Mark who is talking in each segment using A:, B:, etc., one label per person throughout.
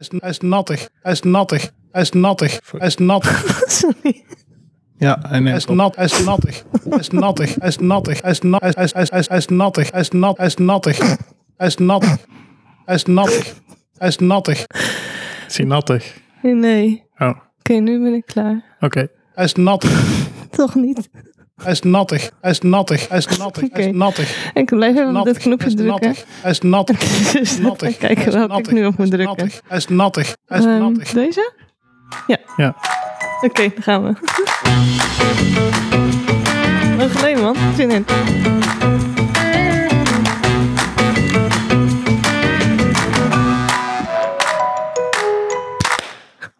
A: is, hij is nattig. Hij is nattig. Hij is nattig. Hij is nattig.
B: Sorry.
C: Ja, hij
A: Hij
C: neemt
A: is
C: op.
A: nat. Hij is nattig. Hij is nattig. Hij is nattig. Hij is nat. Hij is, hij is, hij is, hij is nattig. Hij is nat. Hij is nattig. Hij is nattig. Hij is nattig. Hij is nattig.
C: Is hij nattig?
B: Nee.
C: Oh, oké.
B: Oké, nu ben ik klaar.
A: Hij is nattig.
B: Toch niet.
A: Hij is nattig. Hij is nattig. Hij is nattig. Hij is
B: Oké.
A: nattig.
B: Ik blijf even op
A: Nattig.
B: dit knopje
A: Hij is
B: drukken.
A: nattig. Hij is nattig.
B: Dus ik
A: Nattig.
B: ga kijken welke ik nu op moet drukken.
A: Hij is nattig. Hij is
B: Ehm,
A: nattig.
B: deze?
C: Ja.
B: Oké, dan gaan we. Nog geleden, man. Zin in.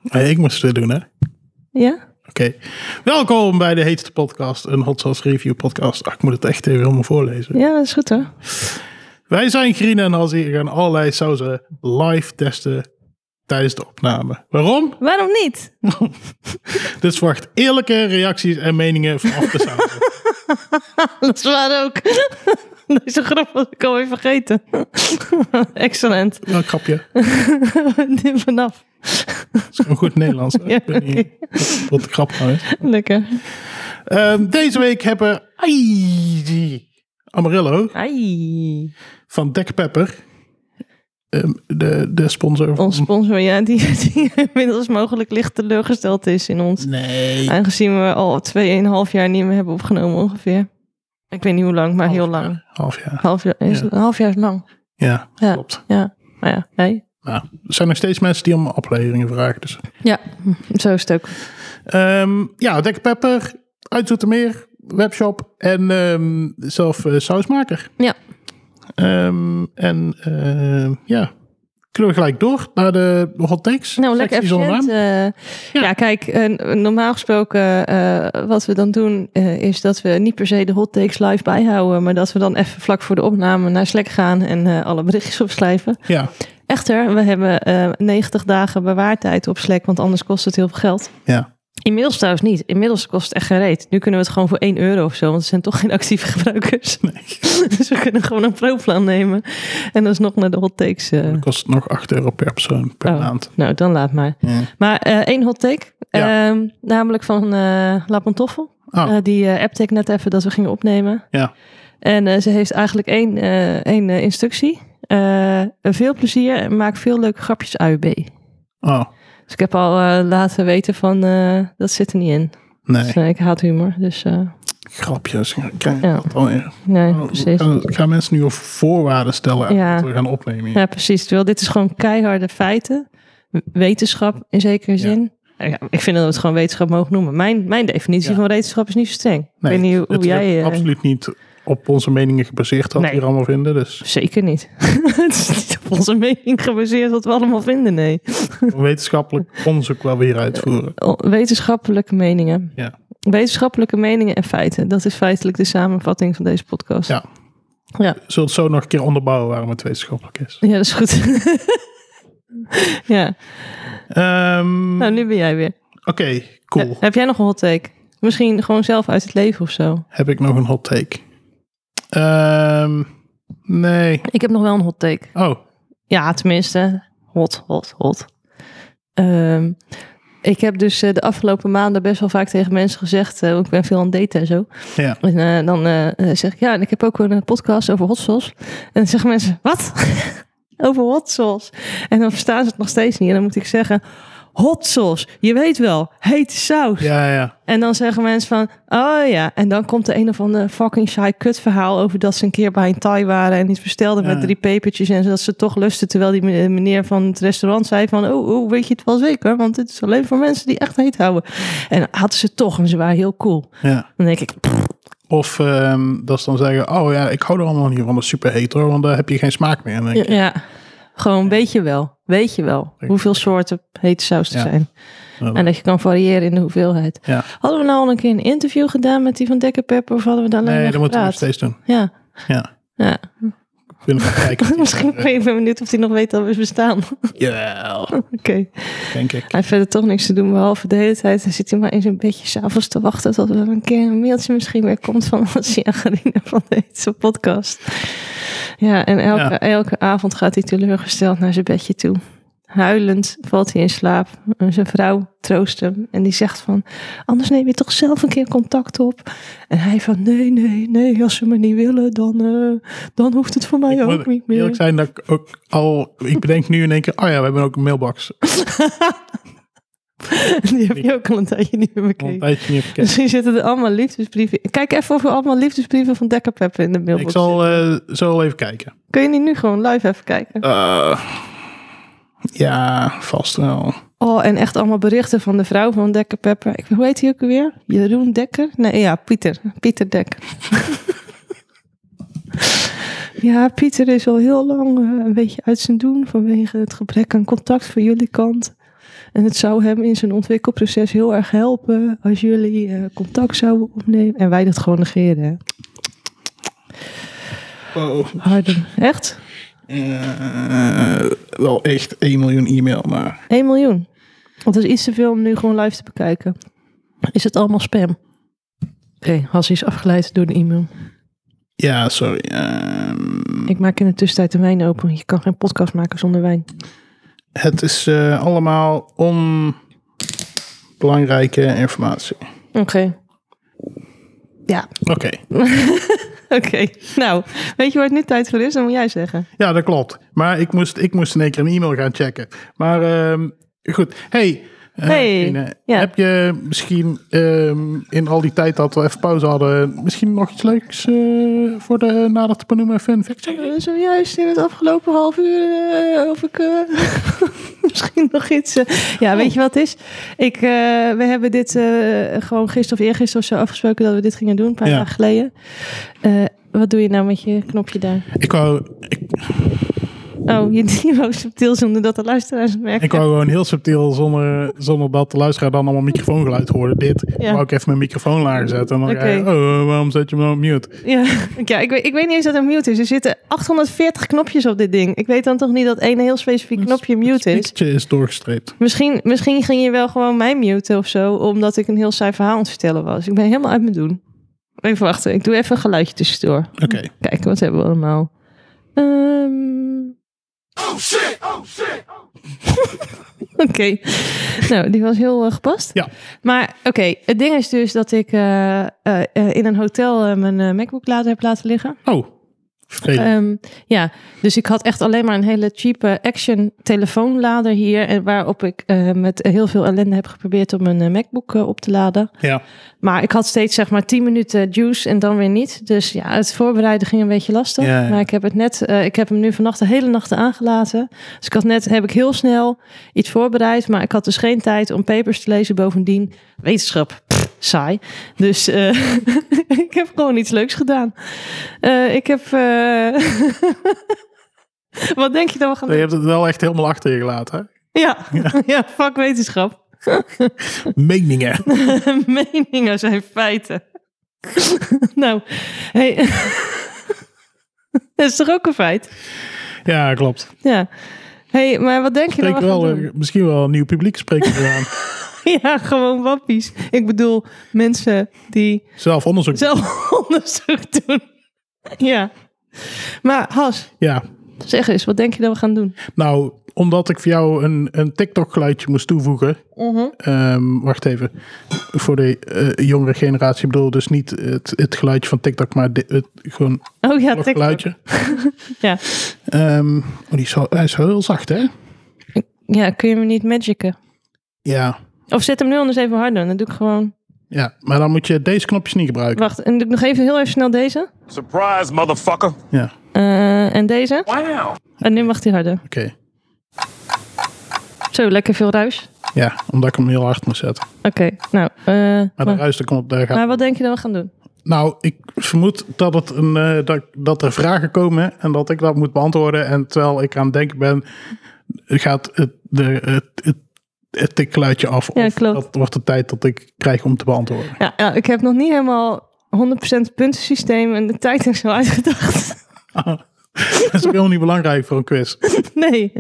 C: Hey, ik moest het weer doen, hè? Oké.
B: Ja?
C: Welkom bij de heetste podcast, een Hot Sauce Review podcast. Ah, ik moet het echt even helemaal voorlezen.
B: Ja, dat is goed hoor.
C: Wij zijn Grien en Hazzy en gaan allerlei sauzen live testen tijdens de opname. Waarom?
B: Waarom niet?
C: Dit verwacht eerlijke reacties en meningen vanaf de sauzen.
B: Dat is waar ook. Dat is een grap dat ik alweer vergeten. Excellent.
C: Welk grapje?
B: Nu Vanaf.
C: Dat is gewoon goed Nederlands. hè?
B: Ja,
C: Ik weet niet wat de grap nou is.
B: Lekker.
C: Ehm, deze week hebben Ai, Amarillo
B: Ai.
C: van Dek Pepper, ehm, de, de sponsor van...
B: Ons sponsor, ja, die, die inmiddels mogelijk licht teleurgesteld is in ons.
C: Nee.
B: Aangezien we al 2,5 jaar niet meer hebben opgenomen ongeveer. Ik weet niet hoe lang, maar heel
C: Half jaar.
B: lang.
C: Half jaar.
B: Half jaar, is
C: Ja.
B: het- een half jaar is lang.
C: Ja,
B: Ja.
C: klopt.
B: Ja, maar ja, nee.
C: Nou, er zijn nog steeds mensen die om afleveringen vragen. Dus.
B: Ja, zo is het ook.
C: Ehm, ja, Dek Pepper, uit Zoetermeer, webshop en ehm, zelf eh, sausmaker.
B: Ja.
C: Ehm, en ehm, ja, kunnen we gelijk door naar de hot takes?
B: Nou, lekker
C: Sectie zonder
B: efficiënt.
C: naam.
B: eh. ja. kijk, eh, normaal gesproken eh, wat we dan doen eh, is dat we niet per se de hot takes live bijhouden, maar dat we dan even vlak voor de opname naar Slack gaan en eh, alle berichtjes opschrijven.
C: Ja,
B: Echter, we hebben eh 90 dagen bewaartijd op Slack, want anders kost het heel veel geld.
C: ja.
B: Inmiddels trouwens niet. Inmiddels kost het echt geen reet. Nu kunnen we het gewoon voor 1 euro of zo, want er zijn toch geen actieve gebruikers. dus we kunnen gewoon een pro-plan nemen en alsnog naar de hot takes. eh,
C: Dan kost het nog 8 euro per persoon per
B: Oh.
C: maand.
B: nou, dan laat maar.
C: Ja.
B: Maar eh, één hot take,
C: Ja.
B: Ehm, namelijk van eh La Pantoffel.
C: Ah.
B: Eh, die eh appte ik net even dat we gingen opnemen.
C: Ja.
B: En eh, ze heeft eigenlijk één, eh, één eh, instructie. Eh, veel plezier en maak veel leuke grapjes AUB.
C: Oh,
B: Dus ik heb al eh, laten weten van, eh, dat zit er niet in.
C: nee.
B: Dus, eh, ik haat humor, dus eh,
C: Grapjes. Ik Krijg
B: Ja.
C: dat alweer.
B: nee,
C: Oh,
B: precies.
C: Gaan, gaan mensen nu op voorwaarden stellen
B: Ja.
C: dat we gaan opnemen? hier?
B: Ja, precies. Terwijl dit is gewoon keiharde feiten. W- Wetenschap in zekere
C: Ja.
B: zin. Ja. ik vind dat we het gewoon wetenschap mogen noemen. Mijn, mijn definitie
C: Ja.
B: van wetenschap is niet zo streng.
C: Nee,
B: ik weet niet hoe,
C: het- het
B: hoe jij...
C: werd
B: eh,
C: absoluut niet op onze meningen gebaseerd wat
B: Nee.
C: we hier allemaal vinden. Dus
B: Zeker niet. het is niet op onze mening gebaseerd wat we allemaal vinden, nee.
C: wetenschappelijk onderzoek waar we hier uitvoeren.
B: O- Wetenschappelijke meningen.
C: Ja.
B: Wetenschappelijke meningen en feiten. Dat is feitelijk de samenvatting van deze podcast.
C: Ja.
B: Ja,
C: Zult het zo nog een keer onderbouwen waarom het wetenschappelijk is.
B: ja dat is goed. ja,
C: Ehm,
B: nou nu ben jij weer.
C: Oké, cool.
B: Heb jij nog een hot take? Misschien gewoon zelf uit het leven of zo.
C: Heb ik nog een hot take? Ehm, nee.
B: Ik heb nog wel een hot take.
C: Oh,
B: Ja, tenminste. Hot, hot, hot. Ehm, ik heb dus eh, de afgelopen maanden best wel vaak tegen mensen gezegd, eh, want ik ben veel aan het daten en zo.
C: ja.
B: En eh, dan eh, eh, zeg ik, ja, en ik heb ook een eh, podcast over hot sauce. En dan zeggen mensen, wat? over hot sauce. En dan verstaan ze het nog steeds niet. En dan moet ik zeggen, hot sauce, je weet wel, hete saus.
C: Ja, ja.
B: En dan zeggen mensen van, oh ja. En dan komt er een of ander fucking saai kut verhaal over dat ze een keer bij een Thai waren en iets bestelden
C: Ja.
B: met drie pepertjes en dat ze toch lusten. Terwijl die me- meneer van het restaurant zei van, oh, oh, weet je het wel zeker? Want dit is alleen voor mensen die echt heet houden. En hadden ze toch en ze waren heel cool.
C: ja.
B: Dan denk ik, "Pff,
C: Of ehm, dat ze dan zeggen, oh ja, ik hou er allemaal niet van, dat is super heet hoor, want daar heb je geen smaak meer. En dan denk ik,
B: ja, gewoon weet je wel, weet je wel hoeveel soorten hete saus er
C: Ja. Oh.
B: zijn.
C: Ja.
B: En dat je kan variëren in de hoeveelheid.
C: Ja.
B: Hadden we nou al een keer een interview gedaan met die van Dekker Pepper of hadden we daar alleen
C: Nee,
B: maar
C: dat moeten we nog
B: gepraat?
C: steeds doen.
B: Ja,
C: Ja.
B: ja.
C: Ik wil nog even kijken.
B: Misschien ben ik ben benieuwd of hij nog weet dat we bestaan. Oké.
C: Ja, denk ik.
B: Hij heeft verder toch niks te doen, behalve de hele tijd. Dan zit hij maar in zijn bedje s'avonds te wachten tot er een keer een mailtje misschien weer komt van Asia Garina van deze podcast. Ja, en elke,
C: Ja.
B: elke avond gaat hij teleurgesteld naar zijn bedje toe. Huilend valt hij in slaap. En Zijn vrouw troost hem en die zegt van... anders neem je toch zelf een keer contact op. En hij van nee, nee, nee, als ze me niet willen... dan, eh, dan hoeft het voor mij
C: Ik
B: ook
C: moet
B: niet
C: eerlijk
B: meer.
C: zijn dat ik ook al... Ik bedenk nu in één keer, oh ja, we hebben ook een mailbox.
B: Die heb je ook al een tijdje niet meer
C: Al een
B: bekeken.
C: tijdje niet bekend.
B: Misschien zitten er allemaal liefdesbrieven... Kijk even of er allemaal liefdesbrieven van Dekkerpep in de mailbox
C: Ik zal eh, zo even kijken.
B: zitten. Kun je die nu gewoon live even kijken?
C: Eh, ja, vast wel.
B: Oh, en echt allemaal berichten van de vrouw van Dekker Pepper. Ik, hoe heet hij ook weer? Jeroen Dekker? Nee, ja, Pieter. Pieter Dekker. ja, Pieter is al heel lang eh, een beetje uit zijn doen vanwege het gebrek aan contact van jullie kant. En het zou hem in zijn ontwikkelproces heel erg helpen als jullie eh, contact zouden opnemen. En wij dat gewoon negeren. hè.
C: Wow.
B: Harder. Echt?
C: Eh, wel echt 1 miljoen e-mail, maar...
B: 1 miljoen. Want dat is iets te veel om nu gewoon live te bekijken. Is het allemaal spam? Oké, Hassie is afgeleid door de e-mail.
C: Ja, sorry. ehm,
B: Ik maak in de tussentijd de wijn open. want Je kan geen podcast maken zonder wijn.
C: het is eh, allemaal onbelangrijke informatie.
B: Oké. Ja,
C: Oké.
B: oké. Nou, weet je waar het nu tijd voor is? Dan moet jij zeggen.
C: Ja, dat klopt. Maar ik moest, ik moest in één keer een e-mail gaan checken. Maar ehm, goed. Hey, eh,
B: Hey,
C: Rine,
B: ja.
C: heb je misschien ehm, in al die tijd dat we even pauze hadden, misschien nog iets leuks eh, voor de nadat te benoemen fun fact?
B: Eh, Zojuist in het afgelopen half uur eh, of ik eh, misschien nog iets. eh.
C: Oh.
B: ja, weet je wat het is? Ik, eh, we hebben dit eh, gewoon gisteren of eergisteren of zo afgesproken dat we dit gingen doen, een paar
C: Ja.
B: dagen geleden. Eh, wat doe je nou met je knopje daar?
C: Ik wou, ik,
B: Oh, je die wou subtiel zonder dat de luisteraars het merken.
C: ik wou gewoon heel subtiel, zonder, zonder dat de luisteraar dan allemaal microfoongeluid hoorde, dit.
B: Ja.
C: Wou ik even mijn microfoon lager zetten. En dan
B: Oké.
C: ga je, oh, waarom zet je hem nou op mute?
B: Ja, ja ik, weet, ik weet niet eens dat er mute is. Er zitten 840 knopjes op dit ding. Ik weet dan toch niet dat één heel specifiek knopje mute is.
C: Pietertje is doorgestreept.
B: Misschien, misschien ging je wel gewoon mij muten of zo, omdat ik een heel saai verhaal aan het vertellen was. Ik ben helemaal uit mijn doen. Even wachten, ik doe even een geluidje tussendoor.
C: Oké.
B: Kijken, wat hebben we allemaal? Ehm. Oké, nou, die was heel eh, gepast.
C: Ja.
B: Maar oké, het ding is dus dat ik eh, eh, eh, in een hotel eh, mijn eh, MacBook lader heb laten liggen.
C: Oh, vervelend.
B: Ehm, ja, dus ik had echt alleen maar een hele cheap eh, action telefoonlader hier. En waarop ik eh, met heel veel ellende heb geprobeerd om mijn eh, MacBook eh, op te laden.
C: ja.
B: Maar ik had steeds zeg maar 10 minuten juice en dan weer niet. Dus ja, het voorbereiden ging een beetje lastig.
C: Ja, ja.
B: Maar ik heb het net, eh, ik heb hem nu vannacht de hele nacht aangelaten. Dus ik had net, heb ik heel snel iets voorbereid. Maar ik had dus geen tijd om papers te lezen. Bovendien, wetenschap, pff, saai. Dus eh, ik heb gewoon iets leuks gedaan. Eh, ik heb... eh, Wat denk je dat we
C: Je
B: gaan doen?
C: hebt het wel echt helemaal achter je gelaten. Hè?
B: Ja, ja fuck wetenschap.
C: Meningen.
B: meningen zijn feiten. nou, hey. dat is toch ook een feit?
C: Ja, klopt.
B: Ja. hey, maar wat denk je
C: Spreek
B: nou?
C: wel, eh, misschien wel een nieuw publiek spreken we aan.
B: Ja, gewoon wappies. Ik bedoel, mensen die
C: Zelf onderzoek.
B: zelf onderzoek doen. ja. Maar Has,
C: Ja.
B: zeg eens, wat denk je dat we gaan doen?
C: Nou, omdat ik voor jou een, een TikTok-geluidje moest toevoegen.
B: Mhm.
C: ehm, wacht even. Voor de eh, jongere generatie. Ik bedoel dus niet het, het geluidje van TikTok, maar di- het, gewoon
B: Oh ja,
C: nog
B: TikTok.
C: geluidje.
B: Ja.
C: Ehm, oh, die is wel, hij is wel heel zacht, hè?
B: ja, kun je me niet magicen?
C: Ja.
B: Of zet hem nu anders even harder. Dan doe ik gewoon...
C: Ja, maar dan moet je deze knopjes niet gebruiken.
B: Wacht, en doe ik nog even heel even snel deze.
D: Surprise, motherfucker.
C: Ja,
B: Eh, en deze.
D: Wow.
B: En nu mag die harder.
C: oké.
B: Zo, lekker veel ruis.
C: Ja, omdat ik hem heel hard moet zetten.
B: Oké, nou. eh,
C: Maar de
B: maar,
C: ruis, dat komt, daar gaat
B: maar wat denk je dat we gaan doen?
C: Nou, ik vermoed dat, het een, eh, dat, dat er vragen komen en dat ik dat moet beantwoorden. En terwijl ik aan het denken ben, gaat het, de, het, het, het tikgeluidje af.
B: Ja,
C: of
B: klopt.
C: dat wordt de tijd dat ik krijg om te beantwoorden.
B: Ja, ja, ik heb nog niet helemaal 100% puntensysteem en de tijd en zo uitgedacht.
C: Dat is ook helemaal niet belangrijk voor een quiz.
B: nee.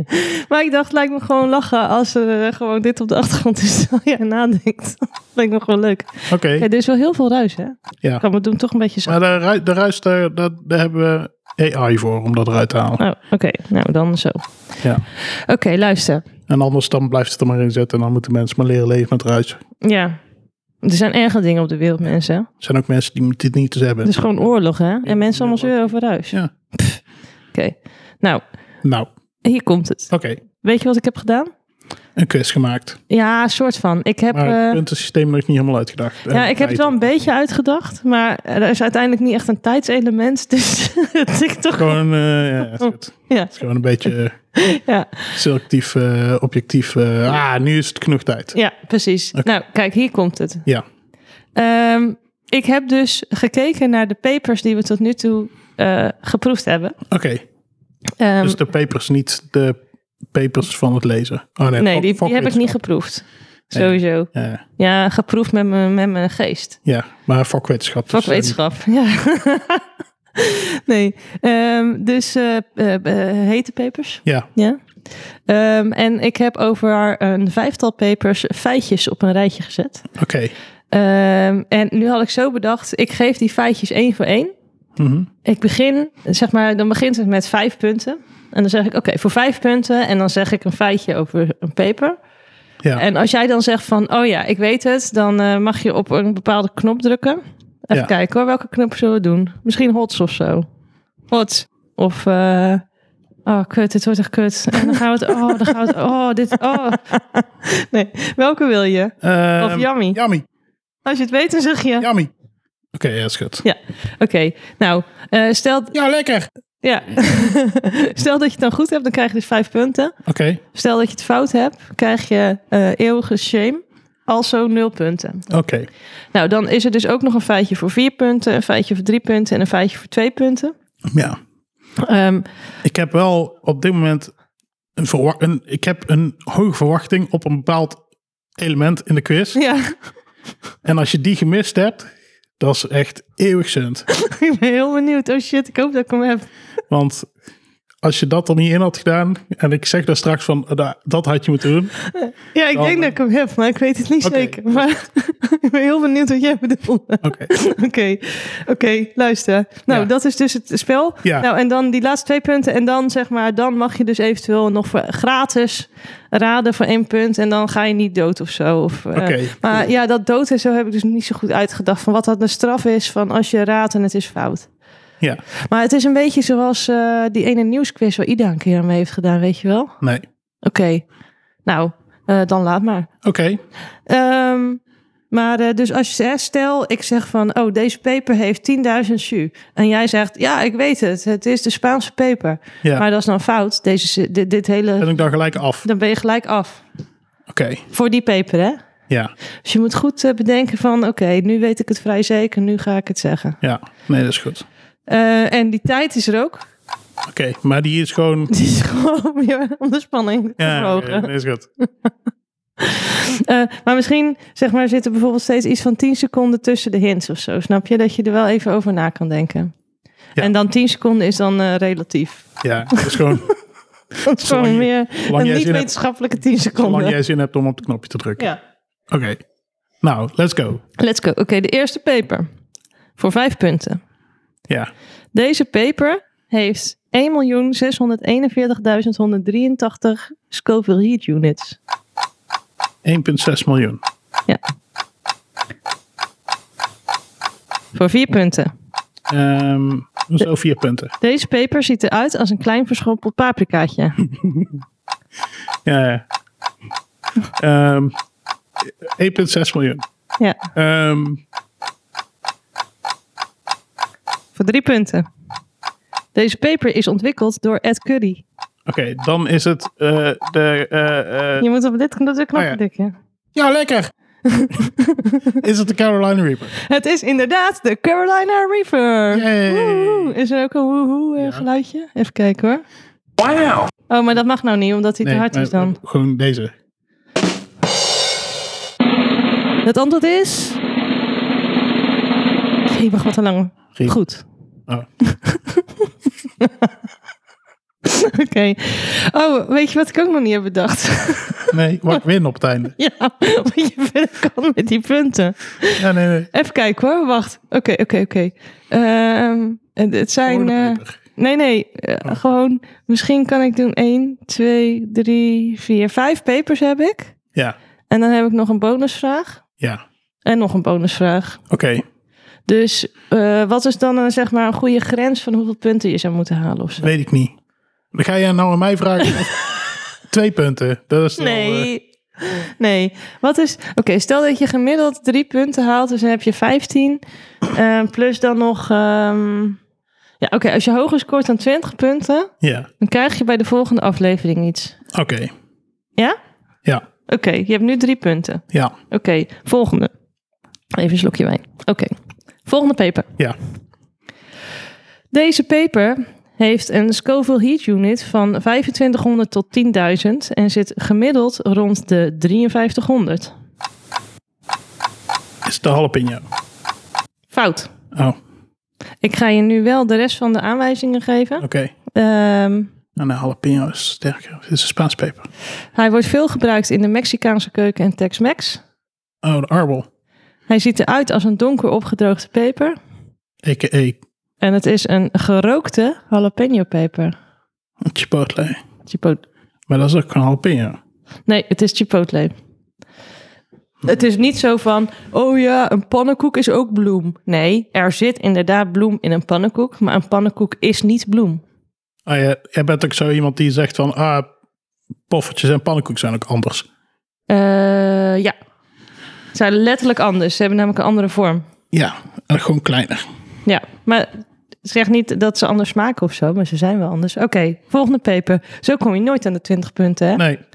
B: Maar ik dacht, lijkt me gewoon lachen als er eh, gewoon dit op de achtergrond is terwijl jij nadenkt. lijkt me gewoon leuk.
C: Oké,
B: Ja, er is wel heel veel ruis, hè?
C: ja.
B: Kan me doen toch een beetje zo.
C: Maar de, ru- de ruis, daar, daar, daar hebben we AI voor om dat eruit te halen.
B: Oh, oké. Nou, dan zo.
C: Ja.
B: Oké, luister.
C: Oké, En anders dan blijft het er maar in zitten. En dan moeten mensen maar leren leven met ruis.
B: Ja. Er zijn erge dingen op de wereld, mensen. hè.
C: Er zijn ook mensen die dit niet eens hebben.
B: Het is gewoon oorlog, hè? En mensen allemaal zeuren over ruis.
C: Ja.
B: Pff, Oké. Nou,
C: Nou, oké.
B: hier komt het. Weet je wat ik heb gedaan?
C: Een quiz gemaakt.
B: Ja, soort van. Ik heb...
C: Maar
B: eh,
C: het puntensysteem nog niet helemaal uitgedacht.
B: Ja, ik heb het wel een beetje uitgedacht, maar er is uiteindelijk niet echt een tijdselement. Dus het ik toch.
C: Gewoon, eh, ja, het is goed.
B: Ja.
C: Het is gewoon een beetje eh,
B: Ja,
C: selectief, eh, objectief. eh, ah, nu is het genoeg tijd.
B: ja precies. Nou, kijk, hier komt het.
C: Ja.
B: Ehm, ik heb dus gekeken naar de papers die we tot nu toe eh, geproefd hebben.
C: Oké,
B: Ehm,
C: dus de papers niet de papers van het lezen. Oh, nee,
B: nee,
C: fuck-
B: die,
C: fuck
B: die heb ik niet
C: wetenschap.
B: geproefd.
C: Nee.
B: Sowieso.
C: Ja,
B: Ja, geproefd met mijn met mijn geest.
C: ja, maar fuck wetenschap. dus,
B: Fuck wetenschap, ja. nee, ehm, dus eh, eh, eh, hete papers.
C: eh, ja,
B: Ja. Ehm, en ik heb over een vijftal papers feitjes op een rijtje gezet.
C: oké.
B: Ehm, en nu had ik zo bedacht, ik geef die feitjes één voor één.
C: Mhm.
B: Ik begin, zeg maar, dan begint het met vijf punten. En dan zeg ik, oké, voor vijf punten. En dan zeg ik een feitje over een paper.
C: Ja.
B: En als jij dan zegt van, oh ja, ik weet het. Dan eh, mag je op een bepaalde knop drukken. Even
C: Ja.
B: kijken hoor, welke knop zullen we doen? Misschien hots of zo. Hots. Of, eh, oh kut, dit wordt echt kut. En dan gaan we het, oh, dan gaan we het, oh, dit, oh. Nee, welke wil je?
C: Ehm,
B: Of yummy.
C: Yummy,
B: Als je het weet, dan zeg je,
C: yummy. Oké, ja, is goed.
B: oké. nou, eh, stel,
C: Ja, lekker.
B: Ja. Stel dat je het dan goed hebt, dan krijg je dus vijf punten.
C: Oké,
B: Stel dat je het fout hebt, krijg je eh, eeuwige shame. Also nul punten.
C: oké.
B: Nou, dan is er dus ook nog een feitje voor vier punten, een feitje voor drie punten en een feitje voor twee punten.
C: Ja,
B: Ehm,
C: ik heb wel op dit moment een, verwa- een, ik heb een hoge verwachting op een bepaald element in de quiz.
B: ja,
C: En als je die gemist hebt, dat is echt eeuwig zend.
B: ik ben heel benieuwd. Oh shit, ik hoop dat ik hem heb.
C: Want als je dat er niet in had gedaan, en ik zeg daar straks van, eh, da- dat had je moeten doen.
B: Ja, ik
C: Dan-
B: denk dat ik hem heb, maar ik weet het niet
C: Oké.
B: zeker. Maar ik ben heel benieuwd wat jij bedoelde.
C: Oké.
B: Oké, oké, luister. Nou,
C: Ja.
B: dat is dus het spel.
C: Ja.
B: Nou, en dan die laatste twee punten. En dan zeg maar, dan mag je dus eventueel nog voor gratis raden voor één punt. En dan ga je niet dood of zo. Of, eh,
C: Oké.
B: Maar ja, dat dood en zo heb ik dus niet zo goed uitgedacht. Van wat dat een straf is van als je raadt en het is fout.
C: Ja,
B: Maar het is een beetje zoals eh, die ene nieuwsquiz waar Ida een keer aan mee heeft gedaan, weet je wel? Oké,
C: nee.
B: nou, eh, dan laat maar.
C: Oké,
B: Ehm, maar eh, dus als je hè, stel, ik zeg van, oh, deze peper heeft 10.000 jus. En jij zegt, ja, ik weet het, het is de Spaanse peper.
C: ja.
B: Maar dat is dan fout. Deze, dit, dit
C: ben
B: hele,
C: ik dan gelijk af.
B: dan ben je gelijk af.
C: Oké,
B: Voor die peper, hè?
C: ja.
B: Dus je moet goed eh, bedenken van, oké, nu weet ik het vrij zeker, nu ga ik het zeggen.
C: Ja, nee, dat is goed.
B: Eh, en die tijd is er ook.
C: Oké, maar die is gewoon...
B: Die is gewoon weer om de spanning te
C: Ja, oké,
B: verhogen.
C: nee, is goed.
B: Eh, maar misschien, zeg maar, zit er bijvoorbeeld steeds iets van 10 seconden tussen de hints of zo. Snap je? Dat je er wel even over na kan denken.
C: Ja.
B: En dan 10 seconden is dan eh, relatief.
C: Ja, het is gewoon
B: Dat is
C: Zolang
B: gewoon
C: je-
B: meer
C: zolang
B: een
C: jij zin
B: niet-wetenschappelijke 10
C: zolang
B: seconden.
C: jij zin hebt om op het knopje te drukken.
B: Ja.
C: Oké, nou, let's go.
B: Let's go. Oké, de eerste paper. Voor vijf punten.
C: Ja,
B: Deze paper heeft 1.641.183 Scoville Heat Units.
C: 1,6 miljoen.
B: Ja. Voor vier punten.
C: Ehm, zo vier punten.
B: Deze peper ziet eruit als een klein verschrompeld paprikaatje.
C: Ja, ja. Ehm, 1,6 miljoen.
B: Ja,
C: Ehm,
B: voor drie punten. Deze peper is ontwikkeld door Ed Curry.
C: Oké, dan is het eh, de... eh, eh,
B: Je moet op dit knop de knop
C: Oh ja.
B: drukken.
C: ja, lekker! is het de Carolina Reaper?
B: Het is inderdaad de Carolina Reaper.
C: Yay.
B: Woehoe. Is er ook een woehoe eh,
C: Ja.
B: geluidje? Even kijken hoor. Oh, maar dat mag nou niet, omdat hij te hard is
C: maar-
B: dan.
C: Gewoon deze.
B: Het antwoord is... Ik wacht wat te lang.
C: Riep.
B: Goed.
C: Oh.
B: Oké. Oh, weet je wat ik ook nog niet heb bedacht?
C: Nee, wat ik win op het einde.
B: Ja, wat je verder kan met die punten.
C: Ja, nee, nee.
B: Even kijken hoor, wacht. Oké, oké, oké. Ehm, het- het zijn...
C: Gewoon de
B: eh,
C: paper.
B: Nee, nee. eh, Gewoon, misschien kan ik doen 1, 2, 3, 4, 5 papers heb ik.
C: Ja,
B: En dan heb ik nog een bonusvraag.
C: ja.
B: En nog een bonusvraag.
C: Oké.
B: Dus eh, wat is dan een, zeg maar, een goede grens van hoeveel punten je zou moeten halen of zo?
C: Weet ik niet. Dan ga jij nou aan mij vragen. Twee punten. Dat is dan, eh,
B: Nee. Nee. Wat is. Oké, stel dat je gemiddeld drie punten haalt, dus dan heb je 15. eh, plus dan nog. ehm, ja, oké, als je hoger scoort dan 20 punten,
C: ja,
B: dan krijg je bij de volgende aflevering iets.
C: oké.
B: Ja?
C: Ja,
B: Oké, je hebt nu drie punten.
C: ja,
B: Oké, volgende. Even een slokje wijn. Oké, volgende paper.
C: ja.
B: Deze paper heeft een Scoville Heat Unit van 2500 tot 10.000 en zit gemiddeld rond de 5300.
C: Is de jalapeno.
B: Fout.
C: Oh, oké.
B: Ik ga je nu wel de rest van de aanwijzingen geven. Ehm,
C: En de jalapeno is sterker. Het is een Spaans peper.
B: hij wordt veel gebruikt in de Mexicaanse keuken en Tex-Mex.
C: Oh, de arbol.
B: Hij ziet eruit als een donker opgedroogde peper.
C: A.k.a.
B: En het is een gerookte jalapeno peper.
C: chipotle.
B: Chipotle.
C: Maar dat is ook een jalapeno.
B: Nee, het is chipotle. Het is niet zo van, oh ja, een pannenkoek is ook bloem. Nee, er zit inderdaad bloem in een pannenkoek, maar een pannenkoek is niet bloem.
C: Ah, ja, jij bent ook zo iemand die zegt van... Ah, poffertjes en pannenkoeken zijn ook anders.
B: Eh, ja, het zijn letterlijk anders. Ze hebben namelijk een andere vorm.
C: Ja, en gewoon kleiner.
B: Ja, maar zeg niet dat ze anders smaken of zo, maar ze zijn wel anders. Oké, volgende peper. Zo kom je nooit aan de 20 punten, hè?
C: Nee,
B: Het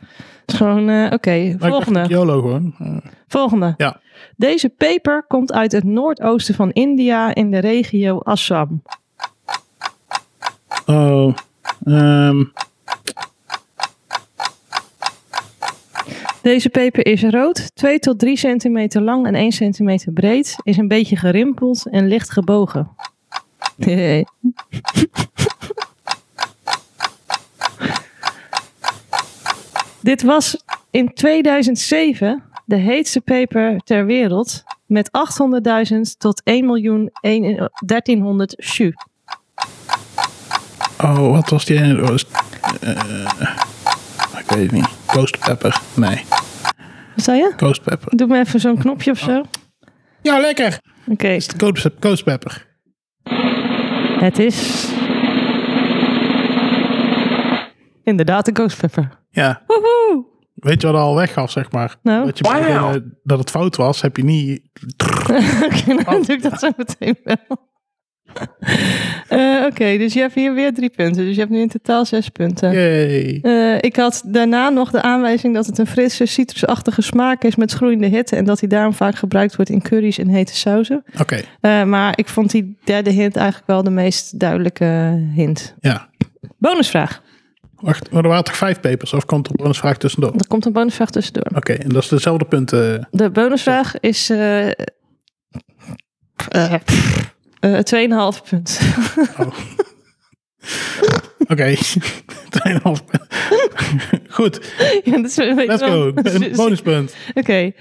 B: is gewoon, eh, oké,
C: maar
B: volgende.
C: ik dacht YOLO gewoon. Eh,
B: Volgende.
C: ja,
B: Deze peper komt uit het noordoosten van India in de regio Assam.
C: oh... ehm,
B: Deze peper is rood, 2 tot 3 centimeter lang en 1 centimeter breed, is een beetje gerimpeld en licht gebogen. Nee. Dit was in 2007 de heetste peper ter wereld met 800.000 tot 1 miljoen 1300 shu.
C: Oh, wat was die ene? Dat was, eh, ik weet het niet. Ghost pepper. Nee,
B: Wat zei je?
C: ghost pepper.
B: Doe me even zo'n knopje of zo. Oké,
C: Ja, lekker. Is het ghost, ghost pepper?
B: het is inderdaad een ghost pepper.
C: Ja.
B: Woehoe!
C: Weet je wat al weggaf, zeg maar?
B: Nou?
C: Dat, je bij degene dat het fout was, heb je niet...
B: Oké, dan doe ik dat zo meteen wel. Eh, Oké, dus je hebt hier weer drie punten. Dus je hebt nu in totaal zes punten.
C: Yay.
B: Eh, ik had daarna nog de aanwijzing dat het een frisse, citrusachtige smaak is met groeiende hitte. En dat die daarom vaak gebruikt wordt in curry's en hete sauzen.
C: Oké,
B: Eh, maar ik vond die derde hint eigenlijk wel de meest duidelijke hint.
C: ja.
B: Bonusvraag.
C: Wacht, maar er waren toch vijf papers? Of komt er een vraag tussendoor? Oké,
B: Er komt een bonusvraag tussendoor.
C: en dat is dezelfde punten.
B: De bonusvraag is eh eh, eh, 2,5 punt.
C: Oké. 2,5. Goed,
B: Ja, dat is een beetje
C: let's
B: zo-
C: go. Een bonuspunt.
B: Dus- Oké.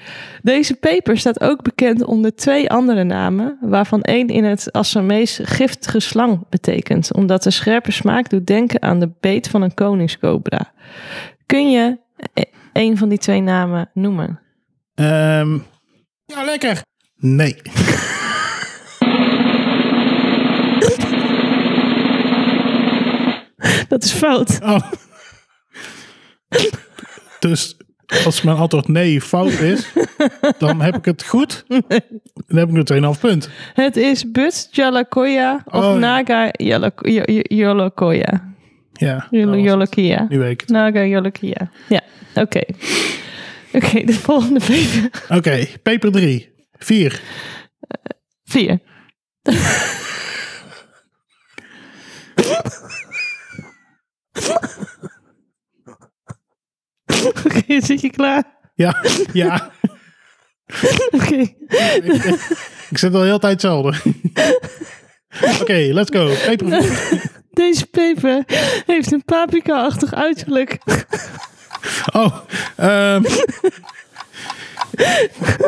B: Deze peper staat ook bekend onder twee andere namen, waarvan één in het Assamees giftige slang betekent, omdat de scherpe smaak doet denken aan de beet van een koningscobra. Kun je e- een van die twee namen noemen?
C: Ehm, ja, lekker. Nee.
B: Dat is fout.
C: Oh. dus als mijn antwoord nee fout is, dan heb ik het goed. Dan heb ik een 2,5 punt.
B: Het is But Jalakoya of
C: Oh, ja.
B: Naga Jalak- J- J- Jolokoya.
C: Ja, dat
B: Jolo-
C: was het.
B: Jolokia.
C: nu weet ik het.
B: Naga Jolokia. Nou, Ja, oké. Oké, de volgende peper.
C: Oké, paper 3. 4.
B: Vier. Oké, zit je klaar?
C: Ja, ja.
B: Oké.
C: Ik zit al heel de tijd hetzelfde. Oké, let's go. Paper 4.
B: Deze peper heeft een paprika-achtig uiterlijk.
C: Oh, ehm,